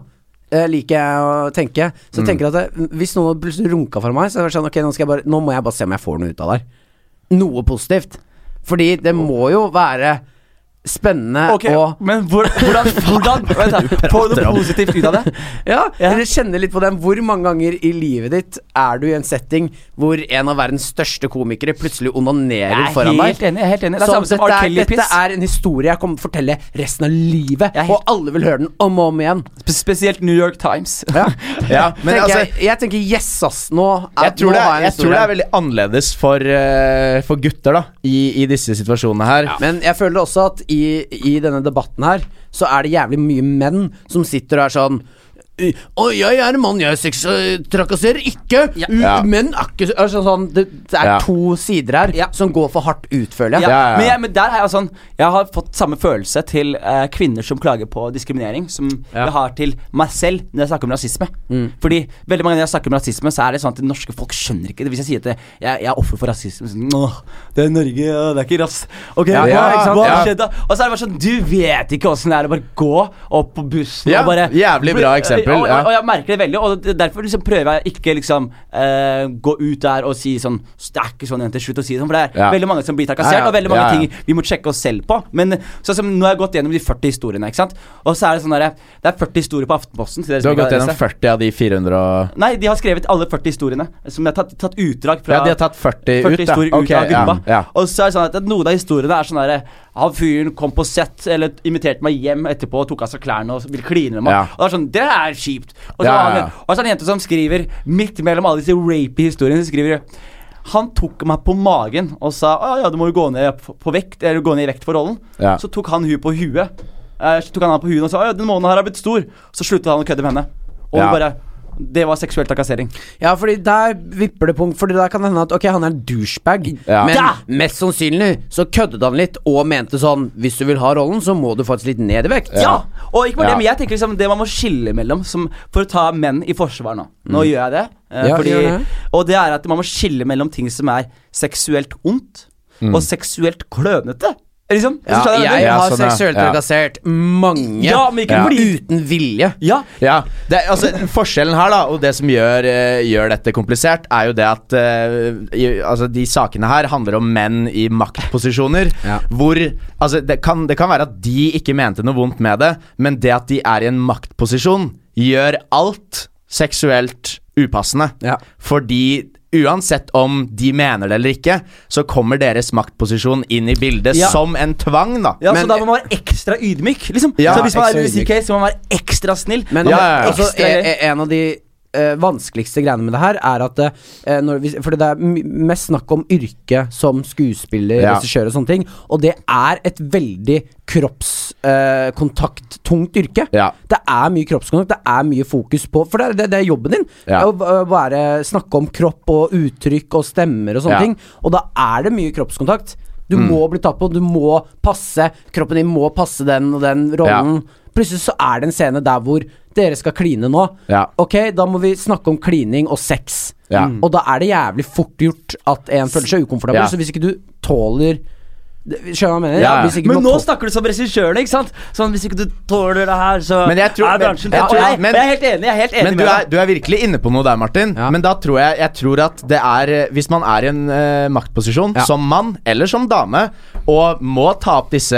Eh, liker jeg å tenke. Så jeg tenker at det, hvis noen hadde plutselig runka for meg, så hadde jeg vært sånn Ok, nå, skal jeg bare, nå må jeg bare se om jeg får noe ut av det her. Noe positivt. Fordi det må jo være spennende
Ok,
og
Men hvor, hvordan, hvordan vent
<laughs>
da, Får du noe positivt ut av det?
Ja,
Ja.
eller kjenne litt på den. Hvor mange ganger i livet ditt er du i en setting hvor en av verdens største komikere plutselig onanerer
Jeg er
foran
helt
deg?
enig. jeg er helt enig Det er
Så
samme som
dette,
R.
er, dette
Kelly-piss.
er en historie jeg kommer til å fortelle resten av livet,
Jeg er helt-
og alle vil høre den om og om igjen.
Spesielt New York Times. <laughs>
Ja, men
tenker
altså
jeg, jeg tenker yes, ass. Nå, er,
jeg tror,
nå
det
har
er,
jeg en
jeg tror
historie.
det er veldig annerledes for, eh, for gutter da i, i disse situasjonene her.
Men jeg føler også at i, i denne debatten her, så er det jævlig mye menn som sitter og er sånn å, jeg er en mann, jeg sex- øh, trakasserer ikke! U-
Ja.
Menn er ikke altså, sånn, Det, det er
Ja.
to sider her
Ja.
som går for hardt ut, føler
Ja,
jeg.
ja, ja.
Men, jeg, men der er jeg sånn Jeg har fått samme følelse til eh, kvinner som klager på diskriminering, som jeg har til meg selv når jeg snakker om rasisme.
Mm.
Fordi veldig mange ganger jeg snakker om rasisme, så er det sånn at det norske folk skjønner ikke det. Hvis jeg sier at jeg, jeg er offer for rasisme så, sånn, Åh, det er Norge, ja, det er ikke rass. Ok,
Ja,
hva,
ja, ikke sant?
hva
Ja.
har skjedd da? Og så er det bare sånn Du vet ikke åssen det er å bare gå opp på bussen
Ja,
og bare
jævlig bra eksempel,
Og, og,
ja.
og jeg merker det veldig, og det- derfor liksom prøver jeg ikke liksom eh, gå ut der og si sånn Det er ikke sånn jenter, slutt å si det sånn, for det er
Ja.
veldig mange som blir trakassert trakassert,
Ja, ja.
og veldig mange
Ja, ja.
ting vi må sjekke oss selv på. Men sånn som nå har jeg gått gjennom de 40 historiene, ikke sant. Og så er det sånn derre Det er 40 historier på Aftenposten. Til dere
Du
som
har
ikke
gått gjennom
lest det.
40 av de 400 og
Nei, de har skrevet alle 40 historiene. Som de har tatt, tatt utdrag fra.
Ja, de har tatt 40,
40
ut, da.
historier
Ok,
ut av gruppa.
Ja, ja.
Og så er det sånn at noen av historiene er sånn derre Han fyren kom på sett eller inviterte meg hjem etterpå og tok av seg klærne og ville kline med meg.
Ja.
Og det er sånn Det er kjipt. Og så,
Ja,
har
ja, ja.
han- og så er det en jente som skriver, midt mellom alle disse rapey historiene, så skriver han tok meg på magen og sa Å ja, du må jo gå ned, på- på vekt, eller gå ned i vekt for rollen.
Ja.
Så tok han hun på huet. Eh, så tok han henne på huet og sa Å ja, den måneden her har blitt stor. Så sluttet han å kødde med henne. Og
Ja.
hun bare Det var seksuell trakassering.
Ja, fordi der vipper det punkt. Fordi der kan det hende at ok, han er en douchebag.
Ja.
Men
Ja!
mest sannsynlig så køddet han litt og mente sånn Hvis du vil ha rollen, så må du faktisk litt ned i vekt.
Ja! Og ikke bare
Ja.
det, men jeg tenker liksom det man må skille mellom som, For å ta menn i forsvar nå. Nå gjør jeg det. eh,
Ja,
fordi,
gjør det.
Og det er at man må skille mellom ting som er seksuelt ondt, og seksuelt klønete. Liksom.
Ja,
Skjønner du hva
jeg
jeg mener?
Ja,
har
sånn, ja.
seksuelt
Ja.
trakassert mange
Ja, men ikke fordi-
uten vilje.
ja.
Ja, det, er- altså Forskjellen her, da, og det som gjør, eh, gjør dette komplisert, er jo det at eh, i, altså, de sakene her handler om menn i maktposisjoner.
Ja.
Hvor altså, det, kan, det kan være at de ikke mente noe vondt med det, men det at de er i en maktposisjon, gjør alt seksuelt upassende.
Ja.
Fordi uansett om de mener det eller ikke, så kommer deres maktposisjon inn i bildet
Ja.
som en tvang, da.
Ja,
Men-
så da må man være ekstra ydmyk. Liksom.
Ja,
så hvis man er
ekstra
Louis CK, så må man være ekstra snill.
Men
Ja, ja, ja.
Altså,
Ekstra
e-
gøy.
e- en av de eh, vanskeligste greiene med det her er at eh, når vi, Fordi det er my- mest snakk om yrke som skuespiller,
Ja.
regissør og sånne ting. Og det er et veldig kroppskontakttungt yrke.
Ja.
Det er mye kroppskontakt, det er mye fokus på For det er, det, det er jobben din.
Ja.
er Å v- være, snakke om kropp og uttrykk og stemmer og sånne
Ja. Mm.
ting. Og da er det mye kroppskontakt. Du må bli tatt på, du må passe Kroppen din må passe den og den rollen. Plutselig så er det en scene der hvor dere skal kline nå.
Ja.
Ok, da må vi snakke om klining og sex. Mm.
Ja.
Og da er det jævlig fort gjort at en føler seg ukomfortabel.
Ja.
Så hvis ikke du tåler Skjønner du hva jeg mener?
Ja, ja.
Hvis ikke
Men
man
nå
tå-
snakker du som regissøren, ikke sant? Sånn, hvis ikke du tåler det her, så
Men jeg tror-
er bransjen
men- jeg
Og
tror-
jeg,
men-
men, jeg er helt enig. Jeg er helt enig
Men du
med
er,
deg.
du er virkelig inne på noe der, Martin.
Ja.
Men da tror jeg, jeg tror at det er eh, Hvis man er i en eh, maktposisjon
Ja.
som mann eller som dame og må ta opp disse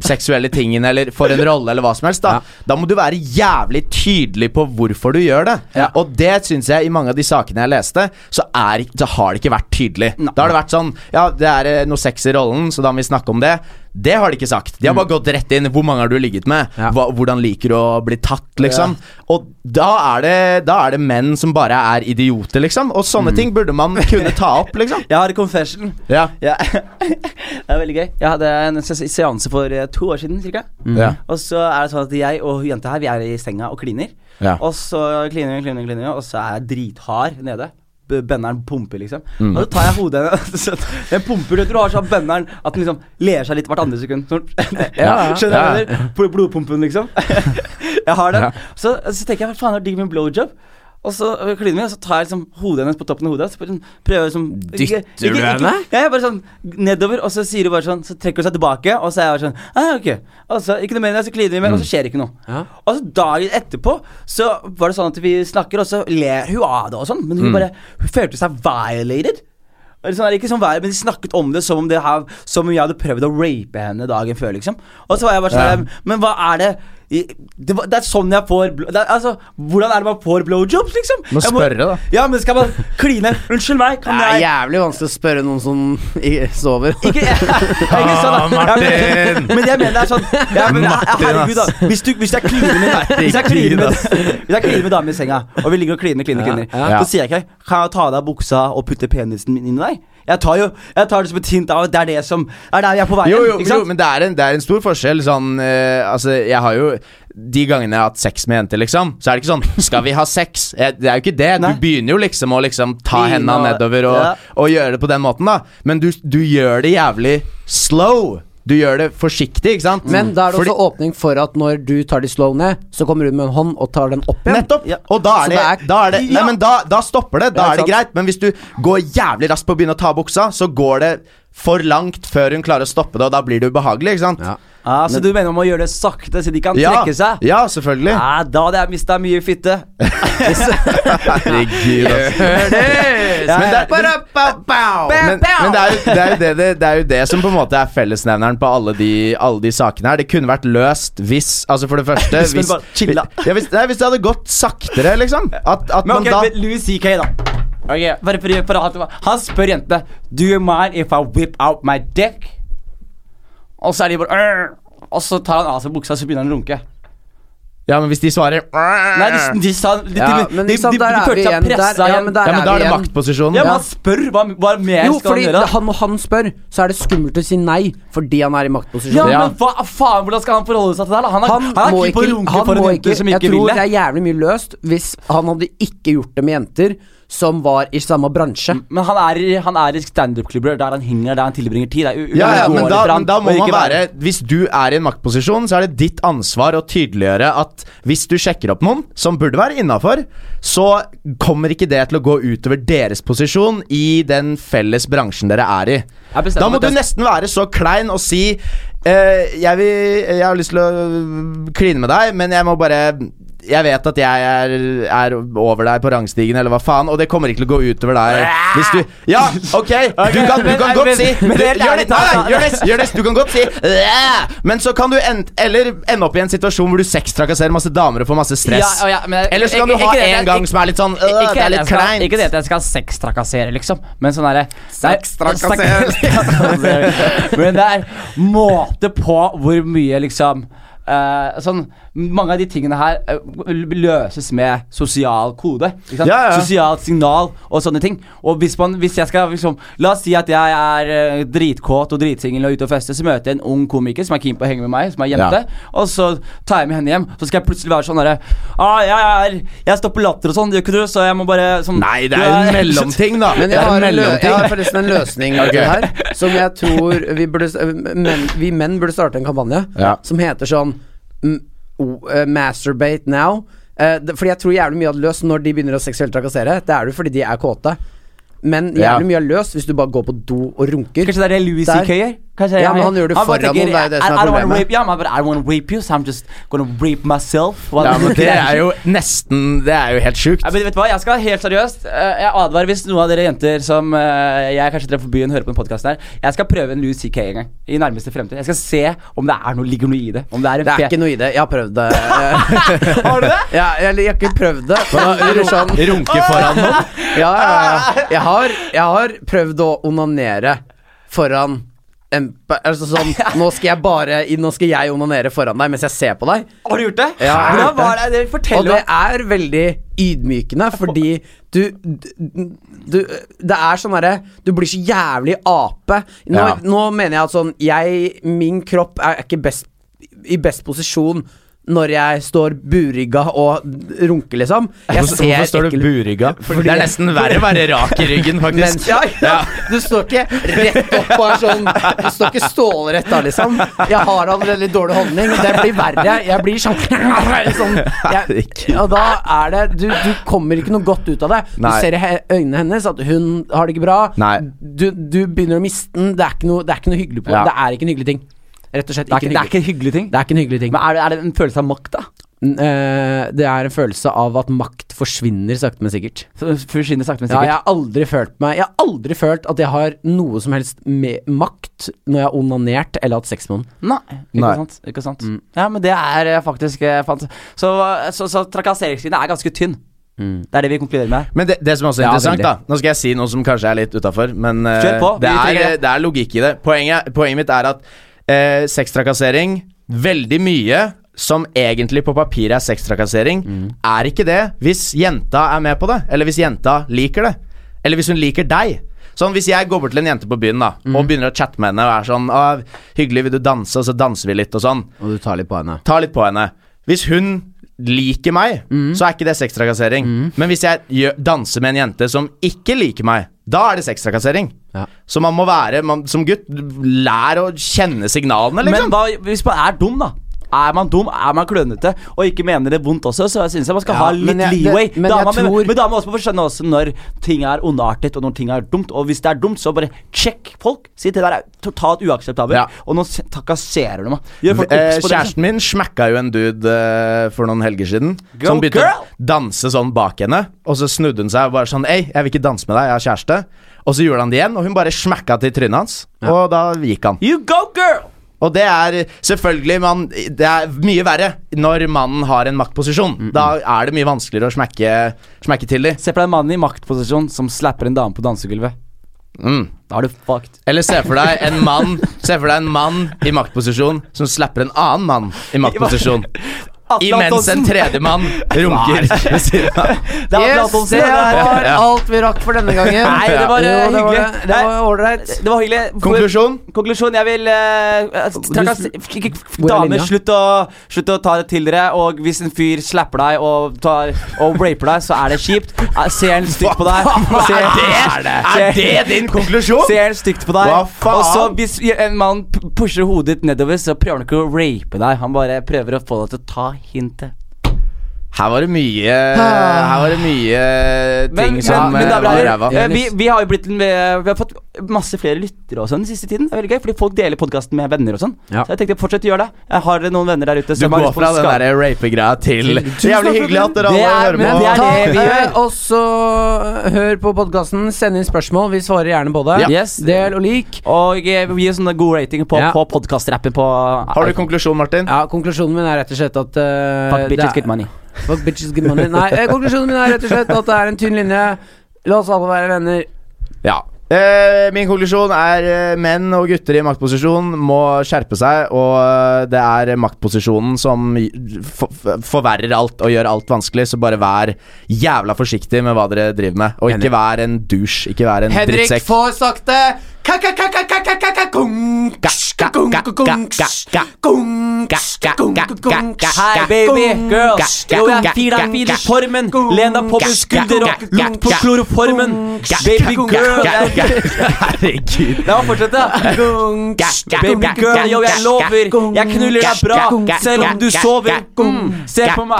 seksuelle tingene eller for en rolle eller hva som helst, da,
Ja.
da må du være jævlig tydelig på hvorfor du gjør det.
Ja.
Og det syns jeg i mange av de sakene jeg leste, så, er, ikke- så har det ikke vært tydelig. Da har det vært sånn Ja, det er eh, noe sex i rollen, så da må vi snakke om det. Det har de ikke sagt. De har bare gått rett inn. Hvor mange har du ligget med?
Ja.
Hva, hvordan liker du å bli tatt, liksom? Og da er, det, da er det menn som bare er idioter, liksom. Og sånne ting burde man kunne ta opp, liksom.
Jeg har en confession.
Ja.
Ja. <laughs> det er veldig gøy. Jeg hadde en se- seanse for eh, to år siden, cirka.
Mm.
Ja.
Og så er det sånn at jeg og hun jenta her, vi er i senga og kliner.
Ja.
Og så kliner vi, kliner vi, kliner vi, og så er jeg drithard nede. B- Benderen pumper, liksom.
Mm.
Og så tar jeg hodet hennes <laughs> så Den pumper, du vet, du har sånn benderen at den liksom ler seg litt hvert andre sekund. Sånn. <laughs>
Ja, ja.
Skjønner du? hva jeg mener? Bl- Blodpumpen, liksom. <laughs> jeg har den. Så, så tenker jeg hva faen, det er digg med en blowjob. Og så øh, kliner vi, og så tar jeg liksom hodet hennes på toppen av hodet. Så bare sånn, prøver jeg liksom
Dytter du henne?
ja, jeg bare sånn nedover, og så sier hun bare sånn Så trekker hun seg tilbake, og så er jeg bare sånn ah, ok, og så, Ikke noe mer enn det, så kliner vi mer, og så
Mm.
skjer det ikke noe.
Ja.
Og så dagen etterpå så var det sånn at vi snakker, og så ler hun av det og sånn, men hun
Mm.
bare Hun følte seg violated. Eller sånn, ikke sånn vær, men De snakket om det som om det her Som om jeg hadde prøvd å rape henne dagen før. liksom Og så var jeg bare sånn Men hva er det i- det, var- det er sånn jeg får blo- det er, Altså, Hvordan er det man får blowjobs, liksom?
Må
Jeg
spørre, da.
Ja, men skal man kline? Unnskyld meg, kan
Det er
jeg
jævlig vanskelig å spørre noen som i- sover.
ikke, <laughs> ja, ikke sånn, da.
Ah, Martin!
Ja, men, men jeg mener det er sånn ja, men,
Martin,
Herregud, da. Hvis, du, hvis jeg kliner med Hvis jeg kliner med, hvis jeg kliner med damer i senga, og vi ligger og kliner, kliner, kliner,
ja.
så sier jeg ikke Kan jeg ta av deg buksa og putte penisen min inn i deg? Jeg tar jo Jeg tar det som et hint av at det er det som Det er der vi er på vei.
Jo,
hen,
jo,
ikke
jo,
sant?
men det er, en, det er en stor forskjell. Sånn, eh, altså, jeg har jo De gangene jeg har hatt sex med jenter, liksom, så er det ikke sånn 'Skal vi ha sex?' Eh, Det er jo ikke det.
Nei.
Du begynner jo liksom å liksom ta
Begynne
henda
å-
nedover og,
ja.
og gjøre det på den måten, da. Men du, du gjør det jævlig slow. Du gjør det forsiktig, ikke sant?
Men da er det
Fordi-
også åpning for at når du tar de slow ned, så kommer hun med en hånd og tar den opp igjen.
Nettopp!
Ja.
Og da
Så
er det,
det er-
da, er det nei,
Ja.
men da, da stopper det. Da
Ja,
er det
sant.
greit. Men hvis du går jævlig raskt på å begynne å ta av buksa, så går det for langt før hun klarer å stoppe det, og da blir det ubehagelig, ikke sant?
Ja.
Ja, Ah, så du mener man må gjøre det sakte, så de kan
Ja,
trekke seg?
ja, selvfølgelig.
Ja, da hadde jeg mista mye fitte.
Herregud,
<laughs>
altså.
Ja,
Men det, er- men, men det, er jo, det, er jo det, det, det er jo det som på en måte er fellesnevneren på alle de, alle de sakene her. Det kunne vært løst hvis Altså, for det
<laughs>
første
Hvis man
Hvis,
bare chilla.
ja, hvis, nei, hvis det hadde gått saktere, liksom. At, at
Men
man
ok,
da
men Louis CK, da. Ok, bare for, for at, han spør jentene Do you mind if I whip out my dick? Og så er de bare "Arr." Og så tar han av seg buksa, så begynner han å runke.
Ja, men hvis de svarer
Nei, de, de sa De,
Ja,
de,
men
de,
ikke sant,
de, de,
der er vi
følte seg
igjen.
pressa
Der- ja,
igjen.
men der-
Ja, men da er det
igjen.
maktposisjonen.
Ja, men han spør! Hva, hva mer
Jo,
skal han
fordi
gjøre?
han, når han spør, så er det skummelt å si nei fordi han er i maktposisjon.
Ja,
Ja.
men hva faen, hvordan skal han forholde seg til det? her, da? Han er,
Han,
han er
må
ikke
ikke,
på runke
han
for en
må
jente
ikke
som
Jeg
ikke
tror
vil
det
det.
er jævlig mye løst hvis han hadde ikke gjort det med jenter som var i samme bransje.
Men han er, i- han er i standup-klubber der han henger, der han tilbringer tid. Det er u-
Ja, ja,
uunngåelig
men da,
for han
men da må
å
man
ikke
være Hvis du er i en maktposisjon, så er det ditt ansvar å tydeliggjøre at hvis du sjekker opp noen som burde være innafor, så kommer ikke det til å gå utover deres posisjon i den felles bransjen dere er i.
Jeg bestemmer
Da
meg
må du
til-
nesten være så klein og si eh, jeg, vil, jeg har lyst til å mm, kline med deg, men jeg må bare jeg vet at jeg er, er over deg på rangstigen, eller hva faen, og det kommer ikke til å gå utover deg hvis du Ja, ok! Du kan, du kan
men-
godt si
men- men
du-
helt
Gjør
ærlig
det! Nei,
talt,
nei, gjør det! Gjør det, du kan godt si «Æ», Men så kan du end, eller ende opp i en situasjon hvor du sextrakasserer masse damer og får masse stress.
Ja, ja, men jeg-
eller så kan
ikke-
du ha
ikke det at
en
jeg-
gang som er litt sånn «Åh,
Ikke
Det er
det at
altså.
litt
jeg skal-
kleint.
Ikke det at jeg skal sextrakassere, liksom, men sånn derre
<laughs> Sextrakassere. Men det er måte på hvor mye liksom eh, sånn, Mange av de tingene her eh, løses med sosial kode. Ikke sant?
Ja, ja.
Sosialt signal og sånne ting. Og hvis, man, hvis jeg skal liksom La oss si at jeg er eh, dritkåt og dritsingel og ute og fester, så møter jeg en ung komiker som er keen på å henge med meg, som er jente. Og så tar jeg med henne hjem, så skal jeg plutselig være sånn derre ah, jeg, er- jeg stopper latter og sånn, gjør ikke du? Så jeg må bare sånn
Nei, det er
<laughs>
en mellomting, da.
Men
Det
jeg
er en
har, en lø
mellomting.
jeg har forresten <laughs> en løsning på det her som jeg tror vi, burde, s- men, vi menn burde starte en kampanje
Ja.
som heter sånn mm, o- eh, Masturbate now. Eh, det- fordi jeg tror jævlig mye hadde løst når de begynner å seksuelt trakassere. Det er det jo fordi de er kåte. Men jævlig
Ja.
mye er løst hvis du bare går på do og runker.
Kanskje det er det Louis
Der.
CK gjør? Kanskje det
Ja,
er
men han gjør det
bare
foran noen, det er jo det som er
I- I don't wanna
problemet.
rape- Ja, men bare, I don't wanna rape you, so I'm just gonna rape myself. Hva-
Ja, men det er jo nesten Det er jo helt sjukt.
Ja, men vet du hva, Jeg skal helt seriøst eh, Jeg advarer hvis noen av dere jenter som eh, jeg kanskje treffer på byen, hører på den podcasten her. Jeg skal prøve en Louis CK en gang. I nærmeste fremtid. Jeg skal se om det er noe, ligger noe i det. Om det er en
Det er ikke noe i det. Jeg har prøvd det. <laughs>
<laughs>
har du det? Ja, jeg, jeg har ikke prøvd det. Eller sånn
<laughs> Runke foran noen?
ja, ja, ja. Jeg, har, jeg har prøvd å onanere foran en, pe- altså sånn, nå skal jeg bare Nå skal jeg onanere foran deg mens jeg ser på deg.
Har du gjort det?
Ja, jeg
Hvordan
har gjort
var det? det?
Og
Fortell
det
meg.
er veldig ydmykende, fordi du, du, du Det er sånn derre Du blir så jævlig ape. Nå,
Ja.
nå mener jeg at sånn jeg, Min kropp er ikke best, i best posisjon når jeg står burygga og runker, liksom. Jeg
Hvorfor hvorfor står du
ekkel-
burygga? Det er nesten verre å være rak i ryggen,
Men,
faktisk.
ja, ja. Du står ikke rett opp og er sånn Du står ikke stålrett da, liksom. Jeg har allerede litt dårlig holdning. Det blir verre. Jeg blir sånn, sånn jeg, Og da er det du, du kommer ikke noe godt ut av det. Du
Nei.
ser i he- øynene hennes at hun har det ikke bra.
Nei.
Du, du begynner å miste den. Det er ikke noe, det er ikke noe hyggelig på
Ja.
Det er ikke en hyggelig ting. Rett og slett
Det er
ikke
ikke, det er
en
ikke en
hyggelig
hyggelig ting.
det er ikke en hyggelig ting.
Men er det, er det en følelse av makt, da?
N- eh, Det er en følelse av at makt forsvinner sakte, men sikkert.
Som Forsvinner sakte, men
Ja, jeg
sikkert.
har aldri følt meg Jeg har aldri følt at jeg har noe som helst med makt når jeg har onanert eller hatt sex med noen.
Nei, ikke
Nei.
sant. Ikke sant?
Mm.
Ja, men det er eh, faktisk eh, fant Så, så, så trakasseringslinjen er ganske tynn.
Mm.
Det er det vi konkluderer med.
Men det, det som også er
Ja,
interessant,
veldig.
da Nå skal jeg si noe som kanskje er litt utafor, men eh,
Kjør på, vi
det,
trenger
er,
det.
det er logikk i det. Poenget, poenget mitt er at eh, sextrakassering Veldig mye som egentlig på papiret er sextrakassering,
Mm.
er ikke det hvis jenta er med på det, eller hvis jenta liker det. Eller hvis hun liker deg. Sånn, Hvis jeg går bort til en jente på byen da
Mm.
og begynner å chatte med henne og er sånn «Å, 'Hyggelig, vil du danse?' Og så danser vi litt og sånn.
Og du tar litt på henne.
Ta litt på henne. Hvis hun liker meg,
Mm.
så er ikke det sextrakassering. Men hvis jeg gjør, danser med en jente som ikke liker meg, da er det sextrakassering.
Ja.
Så man må være man, Som gutt, lær å kjenne signalene, liksom.
Men hva, hvis man er dum, da? Er man dum, er man klønete og ikke mener det vondt også, så synes jeg man skal
Ja,
ha
men
litt
jeg- det-
leeway.
men
da
jeg
må man,
tror-
men da må man også få skjønne også når ting er ondartet, og når ting er dumt. Og hvis det er dumt, så bare sjekk folk. Si at det der er totalt uakseptabelt.
Ja.
Og nå se- trakasserer du meg. Gjør folk
Eh,
obs på det. liksom.
kjæresten min smakka jo en dude eh, for noen helger siden.
Go
som begynte
girl!
å danse sånn bak henne, og så snudde hun seg og bare sånn Ei, jeg vil ikke danse med deg, jeg har kjæreste. Og så gjorde han det igjen, og hun bare smakka til trynet hans. Og da gikk han.
liksom. You go, girl!
Og det er selvfølgelig man, Det er mye verre når mannen har en maktposisjon.
Mm,
Da er det mye vanskeligere å smekke, smekke til dem.
Se på den mannen i maktposisjon som slapper en dame på dansegulvet.
Mm.
Da er du fucked.
Eller se for deg en
<laughs>
mann Se for deg en mann i maktposisjon som slapper en annen mann i maktposisjon.
Atle
Imens en
Antonsen.
tredjemann runker ved siden
Det
av.
er Atle
Yes,
Antonsen.
det
det er-
var
Ja.
alt vi rakk for denne <laughs> gangen.
Nei, det var,
Jo,
eh,
det var
hyggelig.
det. Det var ålreit.
Det var hyggelig.
Konklusjon?
Konklusjon, jeg vil eh, trakas- ikke-
Hvor er
Damer,
linja?
slutt å, slutt å ta det til dere. Og hvis en fyr slapper deg og, tar, og raper deg, så er det kjipt. Eh, Ser han stygt på deg ser,
Er det, er det din konklusjon?
Ser han stygt på deg.
Hva faen?
Og så hvis en mann p- pusher hodet ditt nedover, så prøver han ikke å rape deg. Han bare prøver å få deg til å ta hintet.
Her var det mye Her var det mye ting som
Ah. men
eh,
damer og
var i
herrer,
ræva.
eh, vi, vi har jo blitt en- vi har fått masse flere lyttere og sånn den siste tiden. Det er veldig gøy, fordi folk deler podkasten med venner og sånn.
Ja.
Så jeg tenkte fortsett å gjøre det. Jeg har noen venner der ute
Du
som har
går
lyst på
fra
å
den
skade-
der rape-greia til
Tusen
Jævlig
takk for
hyggelig at dere
Det
alle
er-
hører
men
på.
det er
Ta,
det vi gjør.
eh, Også eh, hør på podkasten, send inn spørsmål. Vi svarer gjerne på det.
Ja. Yes.
Del og lik.
Og eh, gi oss en god rating på,
Ja.
på podkastrappen på
Har du konklusjon, Martin?
Ja, Konklusjonen min er rett og slett at eh,
Fuck
det
bitches,
er-
get money.
Fuck bitches good money. Nei, eh, konklusjonen min er rett og slett at det er en tynn linje. La oss alle være venner.
Ja. Eh, min konklusjon er eh, menn og gutter i maktposisjon må skjerpe seg, og eh, det er maktposisjonen som gj- f- f- forverrer alt og gjør alt vanskelig, så bare vær jævla forsiktig med hva dere driver med, og ikke vær en douche, ikke vær en
Henrik
drittsekk.
får sakte Hei,
Hei, baby, girls. Jo, jeg er fin, jeg er fin i formen. Len deg på min skulder og lukt på kloroformen. Baby girl. jeg-
Herregud.
La meg fortsette. Baby girl, yo, jeg lover. Jeg knuller deg bra, selv om du sover. Mm, Se på meg.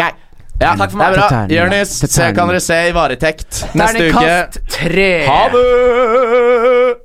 Ja,
Takk for
det
meg.
er bra. Jonis, så kan dere se i varektekt neste uke.
Terningkast tre.
Ha det!